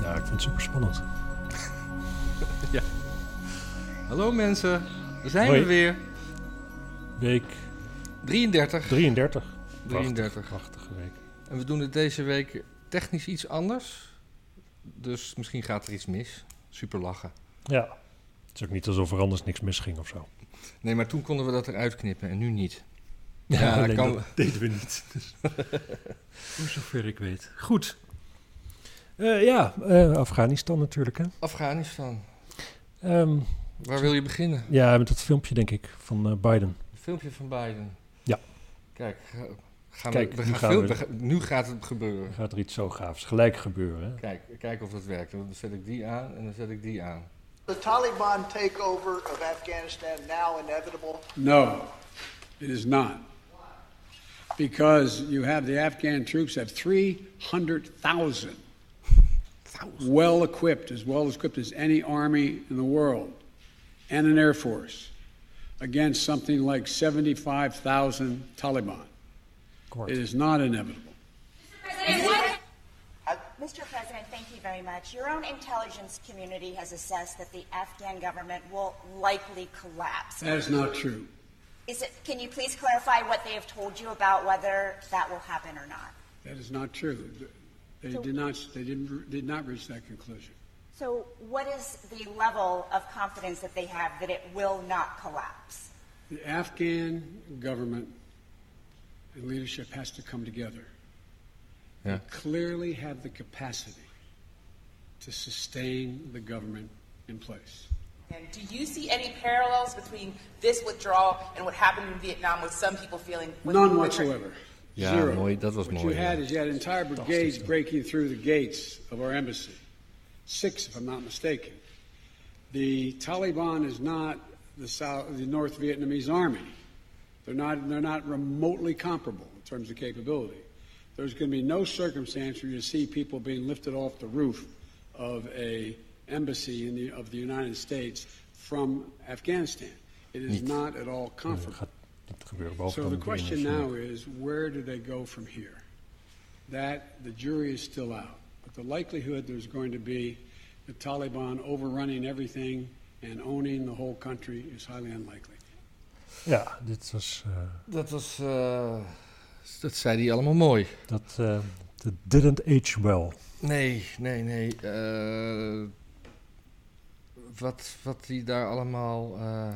vond het super spannend. Hallo mensen, daar zijn Hoi. we weer. Week 33. 33. 33. Prachtige week. En we doen het deze week technisch iets anders. Dus misschien gaat er iets mis. Super lachen. Ja. Het is ook niet alsof er anders niks misging of zo. Nee, maar toen konden we dat eruit knippen en nu niet. Ja, alleen kan- dat deden we niet. Dus. Voor zover ik weet. Goed. Eh, ja, eh, Afghanistan natuurlijk. Hè. Afghanistan, Ehm, waar wil je beginnen? ja, met dat filmpje denk ik van eh, Biden. Een filmpje van Biden. Ja. Kijk, ga- gaan Kijk, we, we nu gaan gaan veel, we- we gaan- nu gaat het gebeuren. Gaat er iets zo gaafs gelijk gebeuren. Hè? Kijk, kijk of dat werkt. Dan zet ik die aan en dan zet ik die aan. The Taliban takeover of Afghanistan now inevitable? No, it is not. Because you have the Afghan troops have 300,000 well equipped, as well equipped as any army in the world, and an air force against something like 75,000 Taliban. Kort. It is not inevitable. Mr. President, thank you very much. Your own intelligence community has assessed that the Afghan government will likely collapse. That is not true. Is it, can you please clarify what they have told you about whether that will happen or not? That is not true. They did not, they didn't, did not reach that conclusion. So, what is the level of confidence that they have that it will not collapse? The Afghan government and leadership has to come together. Ja. clearly have the capacity to sustain the government in place. And do you see any parallels between this withdrawal and what happened in Vietnam with some people feeling None whatsoever. Ja, Zero. mooi. Dat was what mooi, you had ja. is you had entire brigades breaking through the gates of our embassy. Six, if I'm not mistaken. The Taliban is not the South, the North Vietnamese army. They're not, they're not remotely comparable in terms of capability. There's going to be no circumstance where you see people being lifted off the roof of a embassy in the, of the United States from Afghanistan. It is not at all Ja, comparable. dat Eh, gaat niet gebeuren. Behalve Hm. So dan the de question internationale- now is, where do they go from here? That, the jury is still out. But the likelihood there's going to be the Taliban overrunning everything and owning the whole country is highly unlikely. Ja, dit was eh, Dat was. eh, dat zei hij allemaal mooi. dat eh, dat didn't age well. Nee, nee, nee. eh, wat, wat die daar allemaal. eh,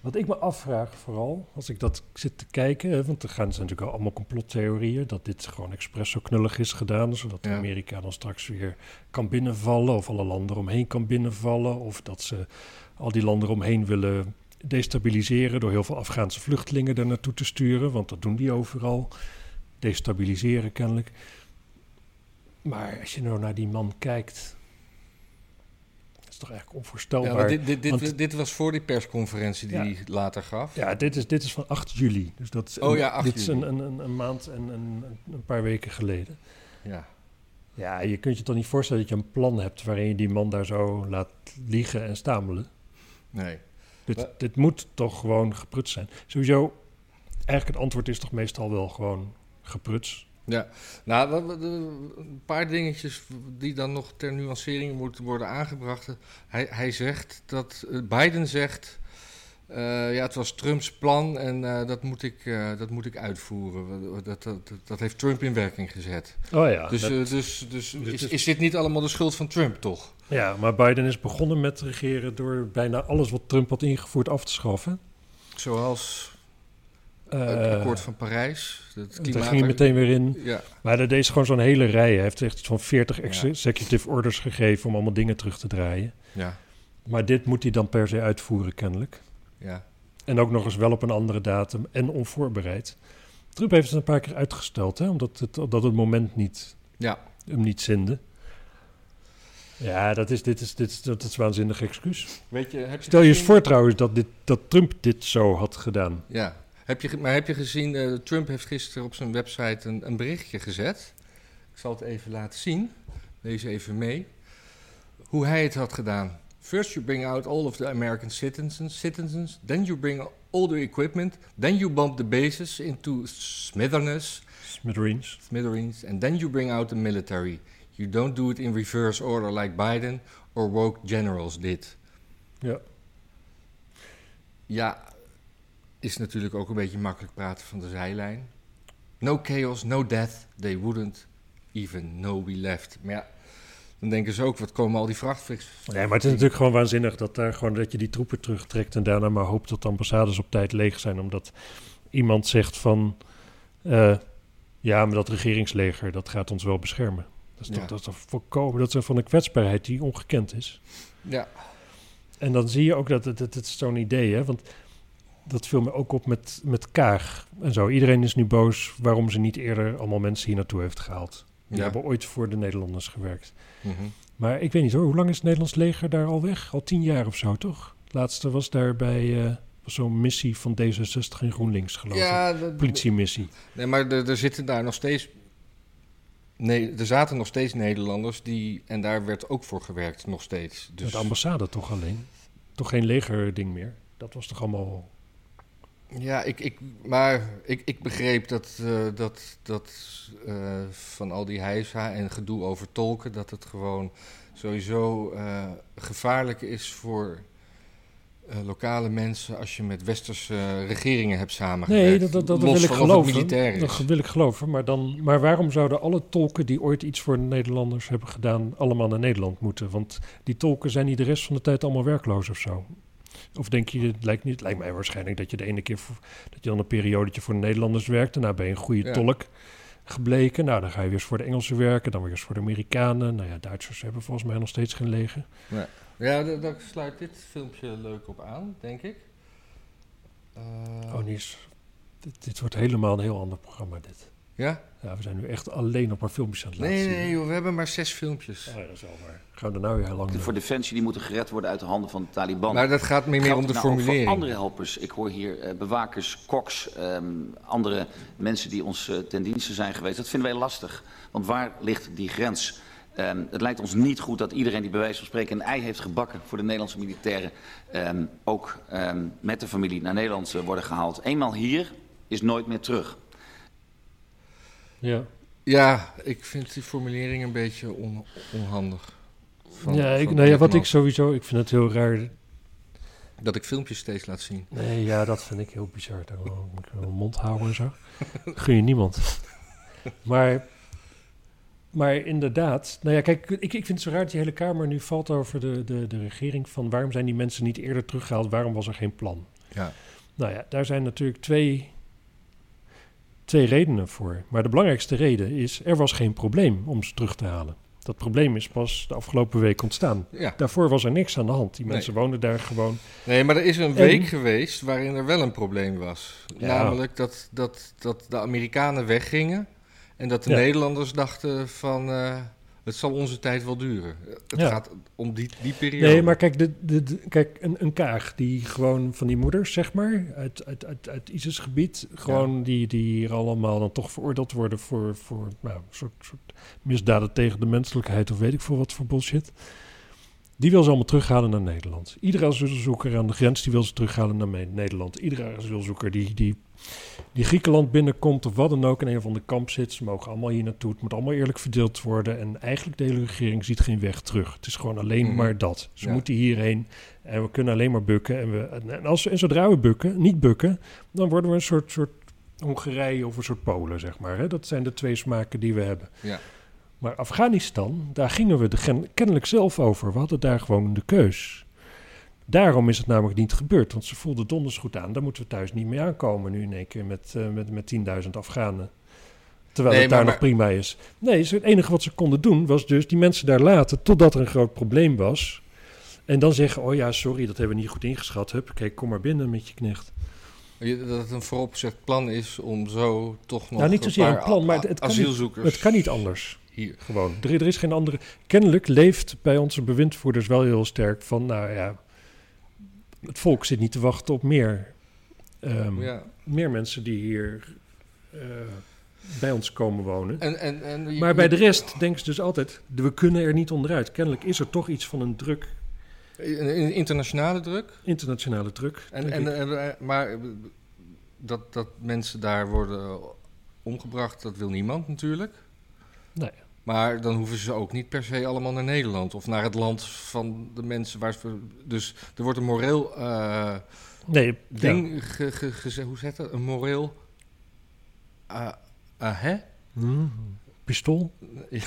Wat ik me afvraag vooral, als ik dat zit te kijken, hè, want er gaan zijn natuurlijk allemaal complottheorieën, dat dit gewoon expres zo knullig is gedaan, zodat Ja. Amerika dan straks weer kan binnenvallen, of alle landen omheen kan binnenvallen, of dat ze al die landen omheen willen destabiliseren door heel veel Afghaanse vluchtelingen daar naartoe te sturen, want dat doen die overal, destabiliseren kennelijk. Maar als je nou naar die man kijkt, dat is toch eigenlijk ja, onvoorstelbaar. maar dit, dit, dit, want- dit was voor die persconferentie die hij later gaf. ja, dit is, dit is van 8 juli. Dus dat is, Oh ja, 8 dit is juli. een, een, een, een maand en een, een- een paar weken geleden. Ja. Ja, je kunt je toch niet voorstellen dat je een plan hebt waarin je die man daar zo laat liegen en stamelen. Nee. Dit, Maar- dit moet toch gewoon gepruts zijn. Sowieso, eigenlijk het antwoord is toch meestal wel gewoon gepruts. Ja, nou, wat- wat- eh, een paar dingetjes die dan nog ter nuancering moeten worden aangebracht. Hij, hij zegt dat, eh, Biden zegt, eh, ja, het was Trumps plan en eh, dat, moet ik, eh, dat moet ik uitvoeren. Dat, dat, dat, dat heeft Trump in werking gezet. Oh ja, dus dat- eh, dus, dus is, is dit niet allemaal de schuld van Trump, toch? ja, maar Biden is begonnen met regeren door bijna alles wat Trump had ingevoerd af te schaffen. Zoals het Eh, akkoord van Parijs, het klimaat... daar ging hij meteen weer in. Ja, Maar dat deed ze gewoon zo'n hele rij. Hij heeft echt zo'n 40 ex- Ja. executive orders gegeven om allemaal dingen terug te draaien. ja, Maar dit moet hij dan per se uitvoeren, kennelijk. ja. En ook nog eens wel op een andere datum en onvoorbereid. Trump heeft het een paar keer uitgesteld, hè, omdat het, omdat het moment niet, Ja, hem niet zinde. Ja, dat is, dit is, dit is, dat is een waanzinnig excuus. weet je, heb je Stel je eens gezien- voor trouwens dat, dit, dat Trump dit zo had gedaan. Ja. Heb je, ge- maar heb je gezien, eh, Trump heeft gisteren op zijn website een, een berichtje gezet. Ik zal het even laten zien. Lees even mee. Hoe hij het had gedaan. First you bring out all of the American citizens, citizens. Then you bring all the equipment. Then you bump the bases into smithereens, Smithereens. smithereens. And then you bring out the military. You don't do it in reverse order like Biden or woke generals did. Ja. Ja, is natuurlijk ook een beetje makkelijk praten van de zijlijn. No chaos, no death, they wouldn't even know we left. Maar ja, dan denken ze ook, wat komen al die vrachtvliegers Nee, maar het is natuurlijk gewoon waanzinnig dat, daar gewoon, dat je die troepen terugtrekt en daarna maar hoopt dat de ambassades op tijd leeg zijn. Omdat iemand zegt van, eh, ja, maar dat regeringsleger, dat gaat ons wel beschermen. Dat is, toch- Ja. dat is toch voorkomen, dat is van een kwetsbaarheid die ongekend is. Ja, En dan zie je ook dat het, het, het is zo'n idee, hè? Want dat viel me ook op met, met Kaag en zo. Iedereen is nu boos waarom ze niet eerder allemaal mensen hier naartoe heeft gehaald. Die Ja. hebben ooit voor de Nederlanders gewerkt. mhm. Maar ik weet niet hoor, hoe lang is het Nederlands leger daar al weg? Al tien jaar of zo, toch? Het laatste was daar bij eh, was zo'n missie van D66 in GroenLinks, geloof ik. ja dat- Politiemissie. Nee, maar er, er zitten daar nog steeds. Nee, er zaten nog steeds Nederlanders die. En daar werd ook voor gewerkt, nog steeds. Dus De ambassade toch alleen? Toch geen legerding meer? Dat was toch allemaal... ja, ik, ik, maar ik, ik begreep dat, eh, dat, dat eh, van al die heisa en gedoe over tolken, dat het gewoon sowieso eh, gevaarlijk is voor eh, lokale mensen als je met westerse eh, regeringen hebt samengewerkt. Nee, dat, dat, dat Los wil ik van of het geloven. militair is. Dat wil ik geloven. Maar, dan, maar waarom zouden alle tolken die ooit iets voor de Nederlanders hebben gedaan... allemaal naar Nederland moeten? Want die tolken zijn niet de rest van de tijd allemaal werkloos of zo. Of denk je, het lijkt, niet, het lijkt mij waarschijnlijk dat je de ene keer... Voor, dat je dan een periodetje voor de Nederlanders werkt... daarna ben je een goede Ja. tolk gebleken. Nou, dan ga je weer eens voor de Engelsen werken. Dan weer eens voor de Amerikanen. Nou ja, Duitsers hebben volgens mij nog steeds geen leger. Ja, da- daar sluit dit filmpje leuk op aan, denk ik. Eh, Oh, Nies, dit, dit wordt helemaal een heel ander programma, dit. Ja? Ja, we zijn nu echt alleen op maar filmpjes aan het laten Nee, zien. nee, joh, we hebben maar zes filmpjes. Oh, ja, dat is wel waar. Gaan we er nou weer heel lang voor mee. defensie die moeten gered worden uit de handen van de Taliban. Maar dat gaat meer, meer Geldt om de het nou ook formulering. Voor andere helpers. Ik hoor hier eh, bewakers, koks, ehm, andere mensen die ons eh, ten dienste zijn geweest. Dat vinden wij lastig. Want waar ligt die grens? Ehm, het lijkt ons niet goed dat iedereen die bij wijze van spreken een ei heeft gebakken voor de Nederlandse militairen ehm, ook ehm, met de familie naar Nederland eh, worden gehaald. Eenmaal hier is nooit meer terug. Ja, Ja, ik vind die formulering een beetje on- onhandig. Van- ja, ik, van nou ja, wat Dickman. ik sowieso... Ik vind het heel raar. Dat ik filmpjes steeds laat zien. Nee, ja, dat vind ik heel bizar. Dan moet ik mijn mond houden en zo. Gun je niemand. Maar, maar inderdaad... Nou ja, kijk, ik, ik vind het zo raar dat die hele Kamer nu valt over de, de, de regering... van waarom zijn die mensen niet eerder teruggehaald? Waarom was er geen plan? Ja. Nou ja, daar zijn natuurlijk twee, twee redenen voor. Maar de belangrijkste reden is, er was geen probleem om ze terug te halen. Dat probleem is pas de afgelopen week ontstaan. ja. Daarvoor was er niks aan de hand. Die Nee. mensen woonden daar gewoon. Nee, maar er is een week geweest waarin er wel een probleem was. Ja. Namelijk dat, dat, dat de Amerikanen weggingen en dat de Ja. Nederlanders dachten van... eh, het zal onze tijd wel duren. Het Ja. gaat om die, die periode. Nee, maar kijk, de, de, de- kijk een, een kaag die gewoon van die moeders, zeg maar, uit, uit, uit, uit ISIS-gebied, gewoon die, die hier allemaal dan toch veroordeeld worden voor, voor nou, een soort, soort misdaden tegen de menselijkheid of weet ik veel wat voor bullshit. Die wil ze allemaal terughalen naar Nederland. Iedere asielzoeker aan de grens die wil ze terughalen naar Me- Nederland. Iedere asielzoeker die, die, die Griekenland binnenkomt of wat dan ook in een van de kamp zit, ze mogen allemaal hier naartoe. Het moet allemaal eerlijk verdeeld worden. En eigenlijk de hele regering ziet geen weg terug. Het is gewoon alleen Mhm. maar dat. Ze Ja. moeten hierheen en we kunnen alleen maar bukken. En, we, en- en, als, en zodra we bukken, niet bukken, dan worden we een soort, soort Hongarije of een soort Polen, zeg maar. Hè? Dat zijn de twee smaken die we hebben. Ja. Maar Afghanistan, daar gingen we de gen- kennelijk zelf over. We hadden daar gewoon de keus. Daarom is het namelijk niet gebeurd, want ze voelden donders goed aan. Daar moeten we thuis niet mee aankomen nu in één keer met, eh, met, met 10.000 Afghanen. Terwijl Nee, het daar maar- nog prima is. Nee, ze- het enige wat ze konden doen was dus die mensen daar laten totdat er een groot probleem was. En dan zeggen, oh ja, sorry, dat hebben we niet goed ingeschat. Hup, kijk, kom maar binnen met je knecht. Je- Dat het een vooropgezet plan is om zo toch nog Nou, niet een zozeer paar een plan, maar a- het kan niet- asielzoekers Het kan niet anders. hier. Gewoon. Er, er is geen andere. Kennelijk leeft bij onze bewindvoerders wel heel sterk van, nou ja, het volk zit niet te wachten op meer, ehm, Ja. meer mensen die hier eh, bij ons komen wonen. En, en, en, Eh, je- Maar bij de rest denken ze dus altijd, we kunnen er niet onderuit. Kennelijk is er toch iets van een druk, een- een internationale druk. internationale druk. En, denk en, ik. en- eh, maar dat, eh, dat mensen daar worden omgebracht, dat wil niemand natuurlijk. Nee. Maar dan hoeven ze ook niet per se allemaal naar Nederland of naar het land van de mensen waar ze. Dus er wordt een moreel eh, Nee, ja. ding ge- ge- geze- Hoe zegt dat? Een moreel. Ah, ah, hè? Hmm. pistool. Ja.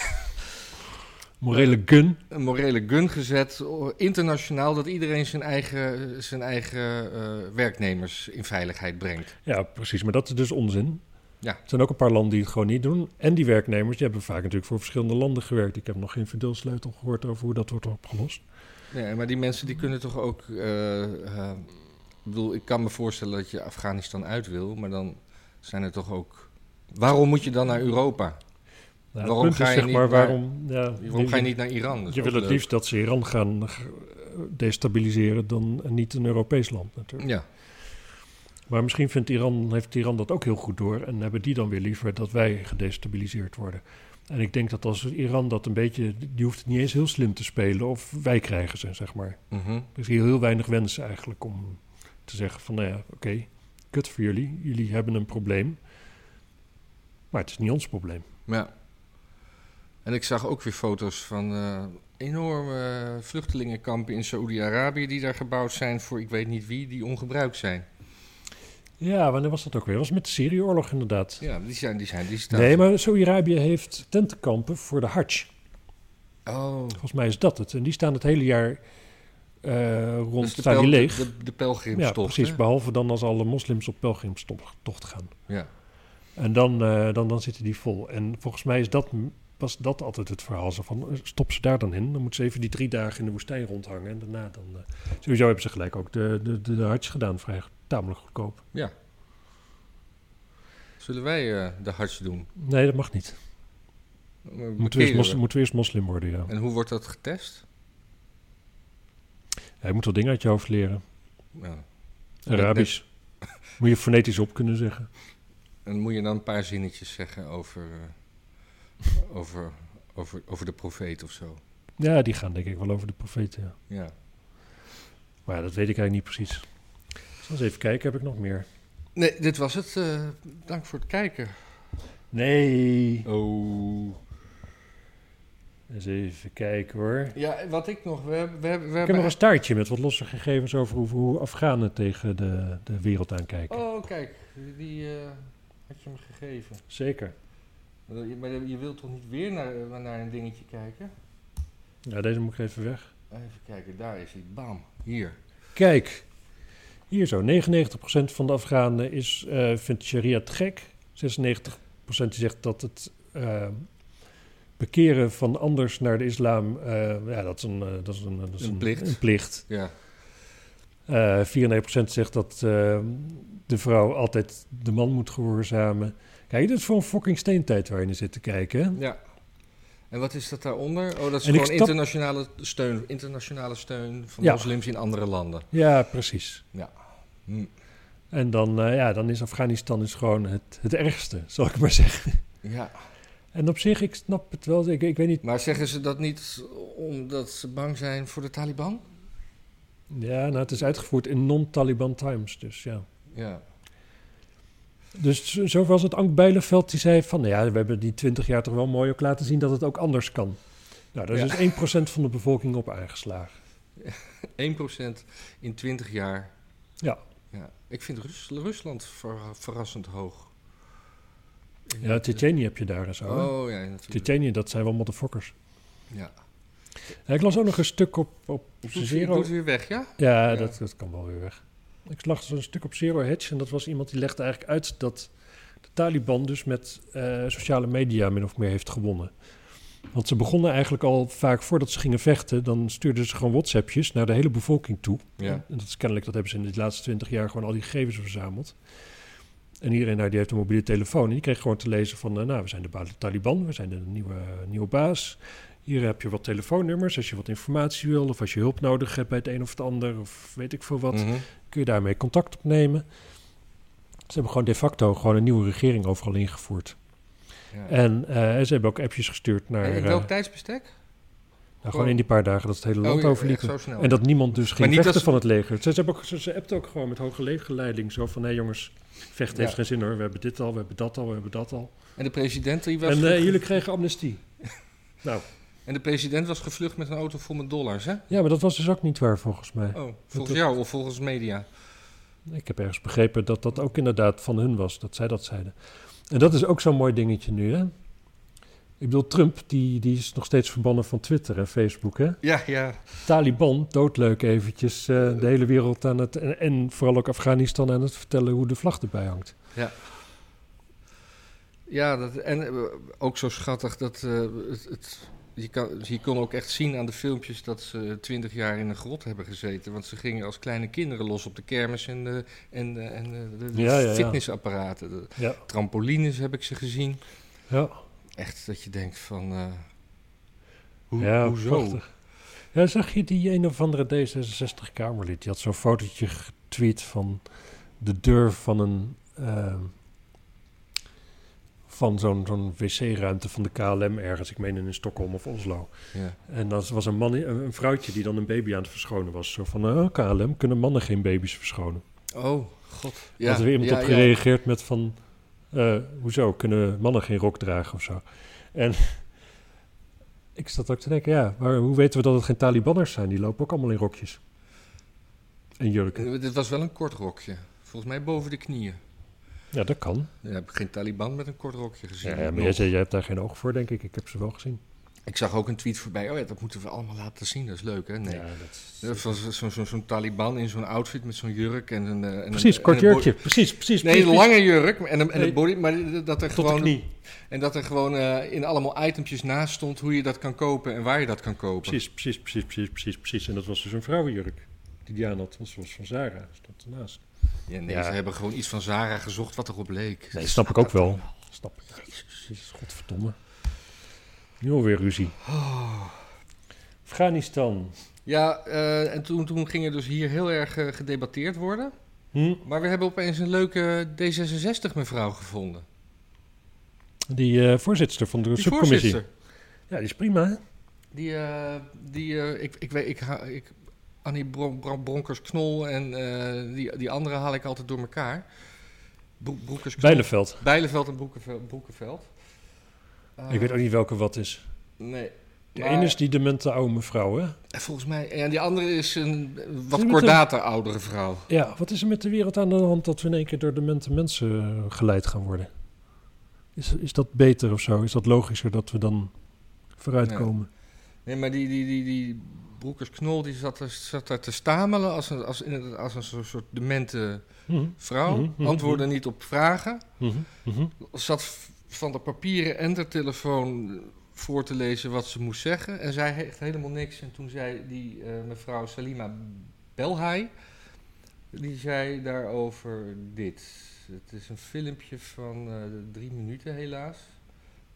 Morele gun. een morele gun gezet, o- internationaal, dat iedereen zijn eigen, zijn eigen eh, werknemers in veiligheid brengt. Ja, precies. Maar dat is dus onzin. Ja. Er zijn ook een paar landen die het gewoon niet doen. En die werknemers, die hebben vaak natuurlijk voor verschillende landen gewerkt. Ik heb nog geen verdeelsleutel gehoord over hoe dat wordt opgelost. Nee, maar die mensen die kunnen toch ook. eh, eh, ik bedoel, ik kan me voorstellen dat je Afghanistan uit wil, maar dan zijn er toch ook. Waarom moet je dan naar Europa? Nou, Waarom het punt ga is je zeg niet maar naar- waarom... Ja, Waarom ga je niet eh, naar Iran? Dat is Je ook wil het leuk. liefst dat ze Iran gaan eh, destabiliseren dan en niet een Europees land natuurlijk. Ja, Maar misschien vindt Iran, heeft Iran dat ook heel goed door en hebben die dan weer liever dat wij gedestabiliseerd worden. En ik denk dat als Iran dat een beetje, die hoeft het niet eens heel slim te spelen of wij krijgen ze, zeg maar. mhm. Er is hier heel weinig wens eigenlijk om te zeggen van, nou ja, oké, kut voor jullie, jullie hebben een probleem. Maar het is niet ons probleem. ja. En ik zag ook weer foto's van eh, enorme vluchtelingenkampen in Saoedi-Arabië die daar gebouwd zijn voor ik weet niet wie, die ongebruikt zijn. Ja, wanneer was dat ook weer? Dat was met de Syrië-oorlog inderdaad. Ja, die zijn, die zijn, die staan. Nee, maar Saudi-Arabië heeft tentenkampen voor de Hajj. Oh, Volgens mij is dat het. En die staan het hele jaar eh, dat rond, is Dus de, staan die pel- leeg. de, de ja, pelgrimstocht. precies. hè? Behalve dan als alle moslims op pelgrimstocht gaan. Ja. En dan, eh, dan, dan zitten die vol. En volgens mij is dat, was dat altijd het verhaal. Zo van, eh, stop ze daar dan in. Dan moeten ze even die drie dagen in de woestijn rondhangen. En daarna dan... eh, sowieso hebben ze gelijk ook de, de, de, de Hajj gedaan. Vrij tamelijk goedkoop. ja. Zullen wij eh, de hartje doen? Nee, dat mag niet. Eh, Moeten markeren we, eerst mos- we. moeten we eerst moslim worden, ja. En hoe wordt dat getest? ja. Je moet wel dingen uit je hoofd leren. Ja. Arabisch. Moet je fonetisch op kunnen zeggen. En moet je dan een paar zinnetjes zeggen over, eh, over, over, over de profeet of zo? Ja, die gaan denk ik wel over de profeten. Ja. Ja. Maar ja, dat weet ik eigenlijk niet precies. Ik zal eens even kijken, heb ik nog meer? Nee, dit was het. eh, dank voor het kijken. Nee. Oh. Eens even kijken hoor. Ja, wat ik nog... We, hebben- we, hebben- we Ik heb nog hebben... een staartje met wat losse gegevens over hoe, hoe Afghanen tegen de, de wereld aankijken. Oh, kijk. Die eh, had je me gegeven. Zeker. Maar je- Maar je wilt toch niet weer naar, eh, naar een dingetje kijken? Ja, deze moet ik even weg. Even kijken, daar is hij. Bam, hier. Kijk, hier zo. 99% van de Afghanen is, eh, vindt sharia te gek. 96% die zegt dat het eh, bekeren van anders naar de islam... eh, ja, dat is een, eh, dat is een, dat is Een plicht. Een plicht. Ja. Eh 94% zegt dat eh, de vrouw altijd de man moet gehoorzamen. Kijk, dit is voor een fucking steentijd waar je naar zit te kijken. hè? ja. En wat is dat daaronder? Oh, dat is En ik gewoon stap- internationale steun. Internationale steun van Ja. moslims in andere landen. Ja, precies. Ja. Hm. En dan, eh, ja, dan is Afghanistan is gewoon het, het ergste, zal ik maar zeggen. Ja. En op zich, ik snap het wel. Ik, ik weet niet. Maar zeggen ze dat niet omdat ze bang zijn voor de Taliban? Ja, nou, het is uitgevoerd in non-Taliban times, dus ja. Ja. Dus zo- zo was het Ank Bijleveld die zei van... nou ja, we hebben die 20 jaar toch wel mooi ook laten zien dat het ook anders kan. Nou, daar is Ja. dus 1% van de bevolking op aangeslagen. 1% in 20 jaar. Ja. ja. Ik vind Rus- Rusland ver- verrassend hoog. Ja, Tsjetsjenië heb je daar en zo. hè? Oh ja, natuurlijk. Tsjetsjenië, dat zijn wel motherfuckers. Ja. Ja, ik las ook nog een stuk op, op Doet ze- Zero. doet weer weg, ja? Ja, Ja. Dat, dat kan wel weer weg. Ik lag zo'n stuk op Zero Hedge en dat was iemand die legde eigenlijk uit dat de Taliban dus met eh, sociale media min of meer heeft gewonnen. Want ze begonnen eigenlijk al vaak voordat ze gingen vechten, dan stuurden ze gewoon WhatsAppjes naar de hele bevolking toe. Ja. En dat is kennelijk, dat hebben ze in de laatste twintig jaar gewoon al die gegevens verzameld. En iedereen daar die heeft een mobiele telefoon. En die kreeg gewoon te lezen van, eh, nou, we zijn de ba- Taliban, we zijn de nieuwe, nieuwe baas. Hier heb je wat telefoonnummers als je wat informatie wil... of als je hulp nodig hebt bij het een of het ander... of weet ik veel wat, Mhm. kun je daarmee contact opnemen. Ze hebben gewoon de facto gewoon een nieuwe regering overal ingevoerd. Ja. En eh, ze hebben ook appjes gestuurd naar... En in eh, welk tijdsbestek? nou, gewoon in die paar dagen dat ze het hele land Oh, ja, overliepen. echt Zo snel. En dat niemand dus ging niet vechten als- van het leger. Ze, ze, hebben ook, ze, ze appten ook gewoon met hoge legerleiding zo van... hé jongens, vechten heeft Ja. geen zin hoor. We hebben dit al, we hebben dat al, we hebben dat al. En de president die was... en eh, jullie kregen eh, amnestie. Nou, En de president was gevlucht met een auto vol met dollars, hè? ja, maar dat was dus ook niet waar volgens mij. Oh, volgens jou of volgens media? Ik heb ergens begrepen dat dat ook inderdaad van hun was, dat zij dat zeiden. En dat is ook zo'n mooi dingetje nu, hè? Ik bedoel, Trump die, die is nog steeds verbannen van Twitter en Facebook, hè? Ja, ja. Taliban, doodleuk eventjes, eh, de hele wereld aan het... En, en vooral ook Afghanistan aan het vertellen hoe de vlag erbij hangt. Ja. Ja, dat, en eh, ook zo schattig dat eh, het, het- je, kan, je kon ook echt zien aan de filmpjes dat ze twintig jaar in een grot hebben gezeten. Want ze gingen als kleine kinderen los op de kermis en de, en de, en de, de- de Ja, ja, ja. fitnessapparaten. De Ja, trampolines heb ik ze gezien. ja. Echt dat je denkt van, eh, hoe, ja hoezo? prachtig. Ja, zag je die een of andere D66-kamerlid? Die had zo'n fotootje getweet van de deur van een... eh, van zo'n zo'n wc-ruimte van de KLM ergens. Ik meen in Stockholm of Oslo. Ja. En dat was een, man, een een vrouwtje die dan een baby aan het verschonen was. Zo van, eh, KLM, kunnen mannen geen baby's verschonen? Oh, god. Ja, had er weer iemand op gereageerd met van... eh, hoezo, kunnen mannen geen rok dragen of zo? En ik zat ook te denken, ja, maar hoe weten we dat het geen Talibanners zijn? Die lopen ook allemaal in rokjes. En jurken. Eh, Dit was wel een kort rokje. Volgens mij boven de knieën. Ja, dat kan. Ja, heb ik geen Taliban met een kort rokje gezien. Ja, maar jij, zei, jij hebt daar geen oog voor, denk ik. Ik heb ze wel gezien. Ik zag ook een tweet voorbij. Oh ja, dat moeten we allemaal laten zien. Dat is leuk, hè? Nee. Ja, dat is- Dat was zo- zo- Zo'n Taliban in zo'n outfit met zo'n jurk en een... eh, en een- Precies, en kort een bo- jurkje. Precies, precies. Nee, precies, een lange jurk en een, en Nee. een body, maar dat er Tot de gewoon... knie. En dat er gewoon eh, in allemaal itempjes naast stond hoe je dat kan kopen en waar je dat kan kopen. Precies, precies, precies, precies, precies, precies. En dat was dus een vrouwenjurk die die aan had. Dat was van Zara, stond ernaast. Ja, nee, Ja. ze hebben gewoon iets van Zara gezocht wat erop leek. Nee, snap ik ook wel. Snap ik. Jezus, godverdomme. Nu alweer ruzie. Oh. Afghanistan. Ja, eh, en toen, toen ging er dus hier heel erg eh, gedebatteerd worden. Hm? Maar we hebben opeens een leuke D66-mevrouw gevonden. Die eh, voorzitter van de Die subcommissie. voorzitter. Ja, die is prima, hè? Die, eh, die eh, ik, ik weet, ik, ha- ik, Annie Bron, Bron- Bronkers-Knol en eh, die, die andere haal ik altijd door elkaar. Bro, Broekers-Knol. Bijleveld. Bijleveld en Broekenveld. Broekenveld. Eh, Ik weet ook niet welke wat is. Nee. De Maar- ene is die demente oude mevrouw, hè? En volgens mij, en die andere is een eh, met wat een- kordater oudere vrouw. Ja, wat is er met de wereld aan de hand dat we in één keer door demente mensen eh, geleid gaan worden? Is, is dat beter of zo? Is dat logischer dat we dan vooruitkomen? Nee, maar die, die, die, die Broekers-Knol die zat, er- zat daar te stamelen als een, als, in- als een soort, soort demente Mhm, vrouw. Mhm, mhm, Antwoordde niet op vragen. mhm, Nou, mhm. zat v- van de papieren en de telefoon voor te lezen wat ze moest zeggen. En zij echt helemaal niks. En toen zei die eh, mevrouw Salima Belhai, die zei daarover dit. Het is een filmpje van eh, drie minuten helaas.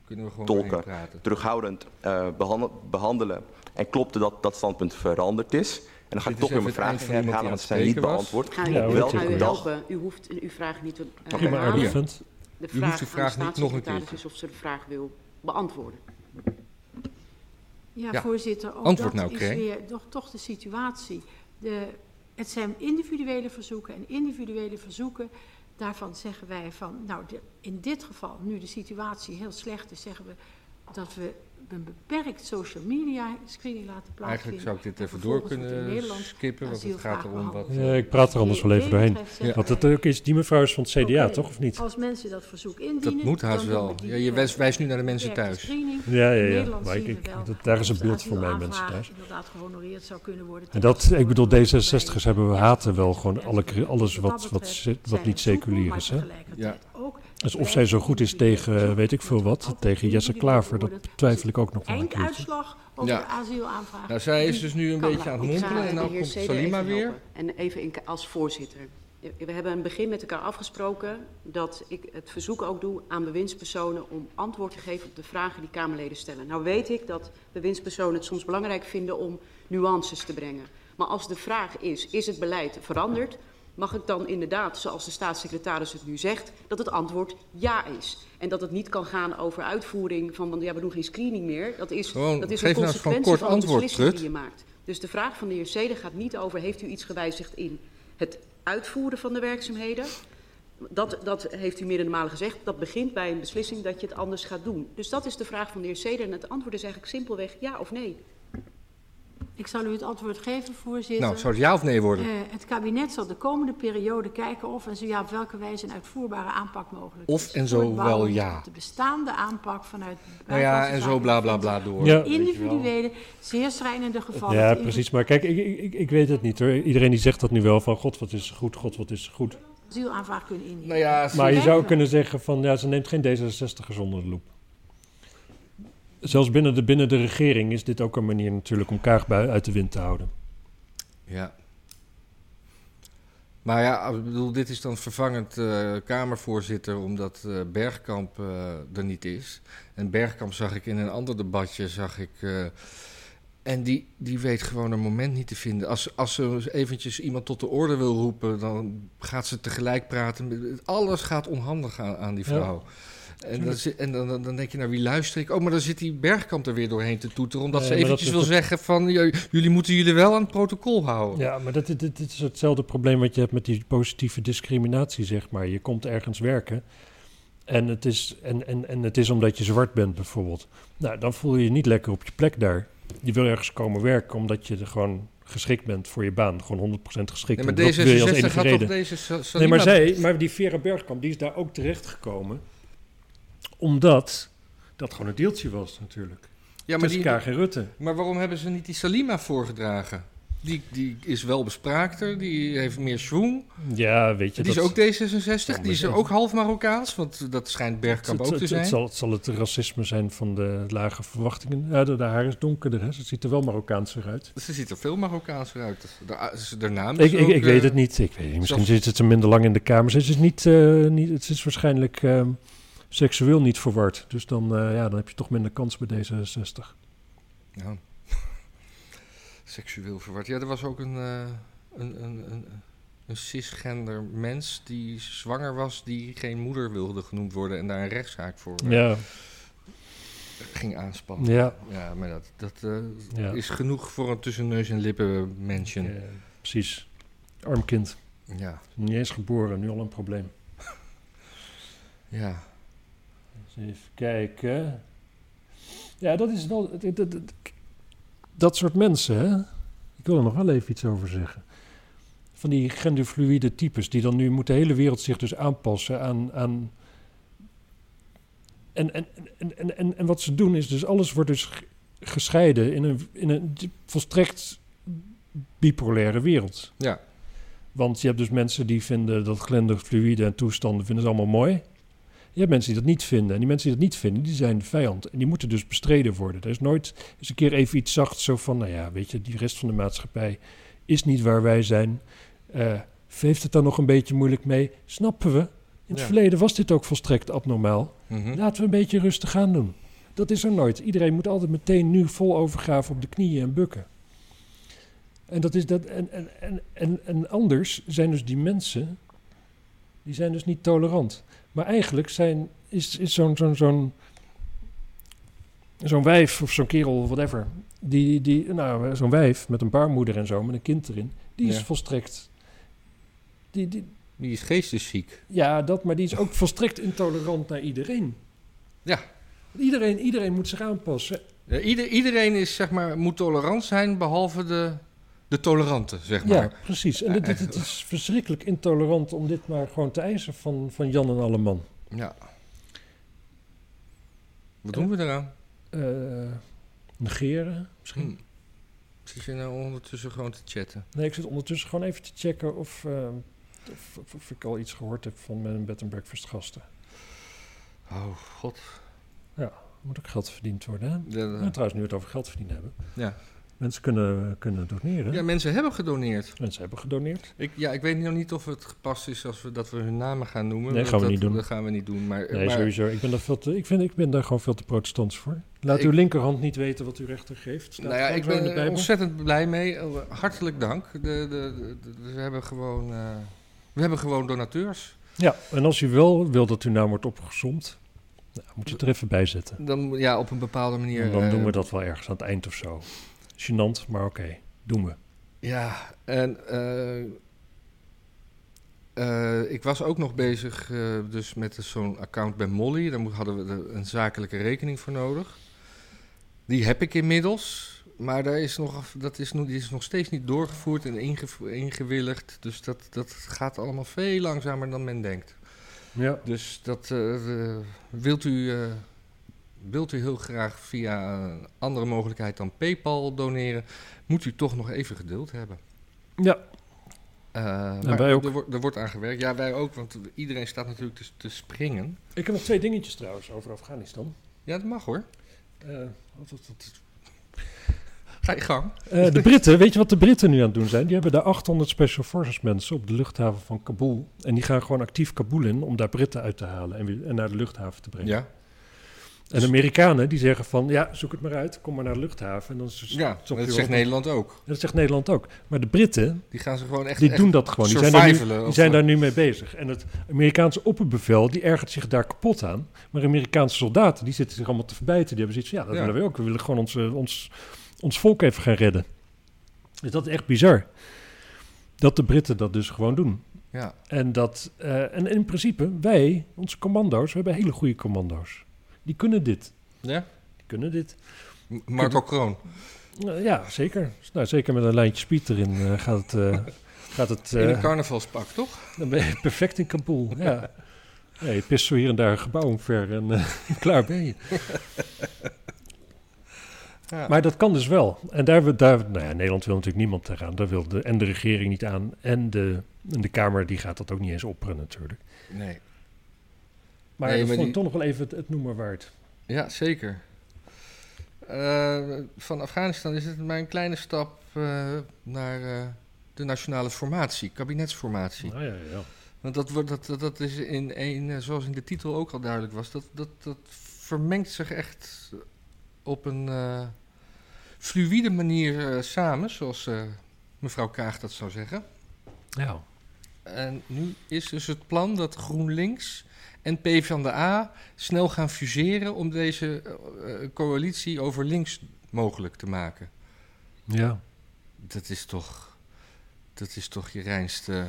Kunnen we gewoon Tolken. doorheen praten. terughoudend eh, behandel- behandelen. En klopte dat dat standpunt veranderd is. En dan ga Dit ik toch is weer even mijn het vragen eind van iemand die herhalen, aan want het ze zijn niet spreken was. beantwoord. Ga u, Ja, Op hoor, ga welke u natuurlijk. dag helpen uw, hoeft, uw vraag niet te eh, Prima, Prima herhalen. Arjen. argument. De Nou, U hoeft uw vraag aan de vraag niet nog een staatssecretaris keertje. is of ze de vraag wil beantwoorden. Ja, Ja. voorzitter. Ook Antwoord dat nou, is Kree. weer toch, toch de situatie. De, het zijn individuele verzoeken en individuele verzoeken. Daarvan zeggen wij van, nou, de- in dit geval, nu de situatie heel slecht is, zeggen we dat we een beperkt social media screening laten plaatsvinden. Eigenlijk zou ik dit En even door vervolgens wordt in kunnen Nederland skippen, want het asielvraag gaat erom wat... behandeld. Ja, Eh, ik praat er anders wel even doorheen. Ja. Want het ook is, die mevrouw is van het CDA, Oké, Oh, toch? Of niet? Als mensen dat verzoek Dat indienen... moet haast dan doen wel. we die, Ja, je eh, wijst, wijst nu naar de mensen beperkte thuis. screening. Ja, ja, In ja. Nederland Maar ik, zien ik- we wel dat, daar is een of de beeld voor mij, mensen asielaanvraag thuis. inderdaad gehonoreerd zou kunnen worden. En dat, ik bedoel, D66 Bij- hebben we haten wel gewoon alle, Enzovoort. alles wat, dat wat, betreft zit- zijn wat we niet soepel, seculier maar is. Hè? tegelijkertijd ook Dus of blijft zij zo goed is individueel tegen, eh, zoeken. weet ik veel wat, Altijd tegen Jesse individueel Klaver, dat worden. twijfel ik ook nog wel een keertje. Einduitslag over Ja. de asielaanvraag. Nou, zij is Die dus nu een kan beetje wel. aan het Ik ga mompelen en de dan heer komt Seder Salima even weer. helpen. En even in, als voorzitter. We hebben aan het begin met elkaar afgesproken dat ik het verzoek ook doe aan bewindspersonen om antwoord te geven op de vragen die Kamerleden stellen. Nou weet ik dat bewindspersonen het soms belangrijk vinden om nuances te brengen. Maar als de vraag is, is het beleid veranderd? Mag ik dan inderdaad, zoals de staatssecretaris het nu zegt, dat het antwoord ja is? En dat het niet kan gaan over uitvoering van, want ja, we doen geen screening meer. Dat is, Gewoon, dat is geef een nou eens gewoon consequentie kort van de antwoord, beslissing Trut. die je maakt. Dus de vraag van de heer Seder gaat niet over: heeft u iets gewijzigd in het uitvoeren van de werkzaamheden? dat, dat heeft u meerdere malen gezegd. Dat begint bij een beslissing dat je het anders gaat doen. Dus dat is de vraag van de heer Seder. En het antwoord is eigenlijk simpelweg ja of nee. Ik zal u het antwoord geven, voorzitter. Nou, zou het ja of nee worden? Eh, het kabinet zal de komende periode kijken of en zo ja op welke wijze een uitvoerbare aanpak mogelijk Of is. en zo Voortbouwend wel ja. op De bestaande aanpak vanuit. Nou ja, en zo bla bla bla door. Ja. Individuele, zeer schrijnende gevallen. Ja, te precies. Maar kijk, ik, ik, ik- ik weet het niet hoor. Iedereen die zegt dat nu wel van god, wat is goed, god, wat is goed. asielaanvraag kunnen indienen. Nou ja, Maar je zou kunnen zeggen van ja, ze neemt geen D66ers onder de loep. Zelfs binnen de, binnen de regering is dit ook een manier natuurlijk om Kaagbui uit de wind te houden. Ja. Maar ja, ik bedoel, dit is dan vervangend eh, Kamervoorzitter omdat eh, Bergkamp eh, er niet is. En Bergkamp zag ik in een ander debatje, zag ik... eh, en die, die weet gewoon een moment niet te vinden. Als, als ze eens eventjes iemand tot de orde wil roepen, dan gaat ze tegelijk praten. met- Alles gaat onhandig aan, aan die Ja. vrouw. En, dan, Tuurlijk. zit- en dan, dan, dan denk je, naar wie luister ik? Oh, maar dan zit die Bergkamp er weer doorheen te toeteren... omdat Nee, ze maar dat eventjes is wil het- zeggen van... "J- jullie moeten jullie wel aan het protocol houden. Ja, maar dat, dit, dit is hetzelfde probleem wat je hebt met die positieve discriminatie, zeg maar. Je komt ergens werken en het is, en, en, en het is omdat je zwart bent bijvoorbeeld. Nou, dan voel je je niet lekker op je plek daar. Je wil ergens komen werken omdat je er gewoon geschikt bent voor je baan. Gewoon 100% geschikt. Nee, maar En dat wil je als D66 enige had toch reden. deze Sa- Salima- Nee, maar zij, maar die Vera Bergkamp, die is daar ook terechtgekomen. Omdat dat gewoon een deeltje was natuurlijk. Ja, maar, Tussen die, Kaag en Rutte. maar waarom hebben ze niet die Salima voorgedragen? Die, die is wel bespraakter, die heeft meer schwung. Ja, weet je. Die is dat- ook D66, die is dat- ook half Marokkaans, want dat schijnt Bergkamp Het, ook te het- het zijn. zal, het zal het racisme zijn van de lage verwachtingen. Ja, de, de haar is donkerder, hè? ze ziet er wel Marokkaanser uit. Ze ziet er veel Marokkaanser uit. Daar- ze- Haar naam is Ik, ik, ook, ik weet eh, het niet. Ik weet, niet. misschien zelfs- zit ze minder lang in de kamer. Ze is, niet, eh, niet, het is waarschijnlijk eh, seksueel niet verward. Dus dan, eh, ja, dan heb je toch minder kans bij D66. Ja. Seksueel verward. Ja, er was ook een, eh, een, een, een, een cisgender mens die zwanger was, die geen moeder wilde genoemd worden en daar een rechtszaak voor eh, Ja. ging aanspannen. Ja. ja maar dat, dat eh, Ja. is genoeg voor een tussen neus en lippen mention. Eh, precies. Arm kind. Ja, Niet eens geboren, nu al een probleem. ja. Dus even kijken. Ja, dat is wel. Dat, dat, dat- dat soort mensen, hè? Ik wil er nog wel even iets over zeggen. Van die genderfluïde types, die dan nu moet de hele wereld zich dus aanpassen aan. aan en, en, en, en, en, en wat ze doen is dus, alles wordt dus g- gescheiden in een, in een volstrekt bipolaire wereld. ja. Want je hebt dus mensen die vinden dat glenderfluïde en toestanden vinden ze allemaal mooi. Je hebt mensen die dat niet vinden. En die mensen die dat niet vinden, die zijn de vijand. En die moeten dus bestreden worden. Er is nooit eens een keer even iets zacht zo van... nou ja, weet je, die rest van de maatschappij is niet waar wij zijn. Eh, heeft het daar nog een beetje moeilijk mee? Snappen we. In het Ja. verleden was dit ook volstrekt abnormaal. Mhm. Laten we een beetje rustig aan doen. Dat is er nooit. Iedereen moet altijd meteen nu vol overgave op de knieën en bukken. En, dat is dat, en, en, en, en, en anders zijn dus die mensen, die zijn dus niet tolerant. Maar eigenlijk zijn, is, is zo'n zo'n zo'n zo'n wijf of zo'n kerel, whatever, die, die, nou, zo'n wijf met een baarmoeder en zo, met een kind erin, die is Ja. volstrekt, die, die, Die is geestesziek. ja, dat, maar die is ook volstrekt intolerant naar iedereen. Ja. Iedereen, iedereen moet zich aanpassen. Eh, ieder, iedereen is, zeg maar, moet tolerant zijn, behalve de, de tolerante, zeg maar. Ja, precies. En dit, dit- het is verschrikkelijk intolerant om dit maar gewoon te eisen van, van Jan en Alleman. Ja. Wat doen we eraan? Eh negeren, misschien. Hm. Zit je nou ondertussen gewoon te chatten? Nee, ik zit ondertussen gewoon even te checken of, eh, of, of- of ik al iets gehoord heb van mijn bed and breakfast gasten. Oh, god. Moet ook geld verdiend worden, hè? De- de- Nou, trouwens, nu we het over geld verdienen hebben. Ja. Mensen kunnen, kunnen doneren. ja, mensen hebben gedoneerd. Mensen hebben gedoneerd. Ik, ja, ik weet nog niet of het gepast is als we, dat we hun namen gaan noemen. Nee, want gaan we dat, niet doen. Dat gaan we niet doen. Maar, Nee, maar sowieso. Ik ben, daar veel te, ik, vind, ik ben daar gewoon veel te protestants voor. Laat uw Ik- linkerhand niet weten wat uw rechter geeft. Staat Nou ja, gewoon ik zo in de ben er Bijbel. ontzettend blij mee. Eh, Hartelijk dank. De, de, de- de- we hebben gewoon, eh, we hebben gewoon donateurs. Ja, en als u wel wil dat uw naam wordt opgezomd, nou, moet je het er even bij zetten. Dan, moet- ja, op een bepaalde manier. En dan eh, doen we dat wel ergens aan het eind of zo. eh, Gênant, maar oké, doen we. Ja, en eh, Eh, ik was ook nog bezig eh, dus met zo'n account bij Molly. Daar mo- hadden we er een zakelijke rekening voor nodig. Die heb ik inmiddels. Maar daar is nog, af- dat is, nog- die is nog steeds niet doorgevoerd en ingevo- ingewilligd. Dus dat, dat gaat allemaal veel langzamer dan men denkt. Ja. Dus dat eh, eh, wilt, u, eh, wilt u heel graag via een andere mogelijkheid dan PayPal doneren, moet u toch nog even geduld hebben. Ja. Eh, En maar wij ook. Er, wordt, er wordt aan gewerkt. Ja, wij ook, want iedereen staat natuurlijk te, te springen. Ik heb nog twee dingetjes trouwens over Afghanistan. Ja, dat mag hoor. Ga je gang. Eh, de Britten, weet je wat de Britten nu aan het doen zijn? Die hebben daar 800 Special Forces mensen op de luchthaven van Kabul. En die gaan gewoon actief Kabul in om daar Britten uit te halen en, weer- en naar de luchthaven te brengen. Ja. En de Amerikanen die zeggen van, ja, zoek het maar uit, kom maar naar de luchthaven. En dan is- Ja, stop je dat wel zegt op- Nederland ook. En dat zegt Nederland ook. Maar de Britten, Die gaan ze gewoon echt- die echt doen dat gewoon. Die zijn, daar nu, survivalen, die of- eh. zijn daar nu mee bezig. En het Amerikaanse opperbevel, die ergert zich daar kapot aan. Maar Amerikaanse soldaten, die zitten zich allemaal te verbijten. Die hebben zoiets van, ja, dat Ja. willen we ook. We willen gewoon ons, eh, ons, ons volk even gaan redden. Dus dat is echt bizar. Dat de Britten dat dus gewoon doen. Ja. En, dat, eh, en in principe, wij, onze commando's, we hebben hele goede commando's. Die kunnen dit. Ja? Die kunnen dit. Marco Kroon. Eh, Ja, zeker. Nou, zeker met een lijntje speed erin eh, gaat het... eh, gaat het In eh, een carnavalspak, toch? dan ben je perfect in Kabul, ja. Nee, je pist zo hier en daar een gebouw omver en eh, klaar ben je. Ja. Maar dat kan dus wel. En daar, we- daar nou ja, Nederland wil natuurlijk niemand eraan. Daar wil de, en de regering niet aan. En de, en de Kamer die gaat dat ook niet eens opperen natuurlijk. Nee. Maar Nee, dat maar vond ik toch die- nog wel even het, het noemen waard. Ja, zeker. Eh, van Afghanistan is het maar een kleine stap eh, naar eh, de nationale formatie, kabinetsformatie. Nou ja, ja. Want dat, wordt, dat, dat, dat is in één, eh, zoals in de titel ook al duidelijk was, dat, dat, dat vermengt zich echt op een eh, fluïde manier eh, samen, zoals eh, mevrouw Kaag dat zou zeggen. Ja. En nu is dus het plan dat GroenLinks en PvdA snel gaan fuseren om deze eh, eh, coalitie over links mogelijk te maken. Ja. Dat is toch, dat is toch je reinste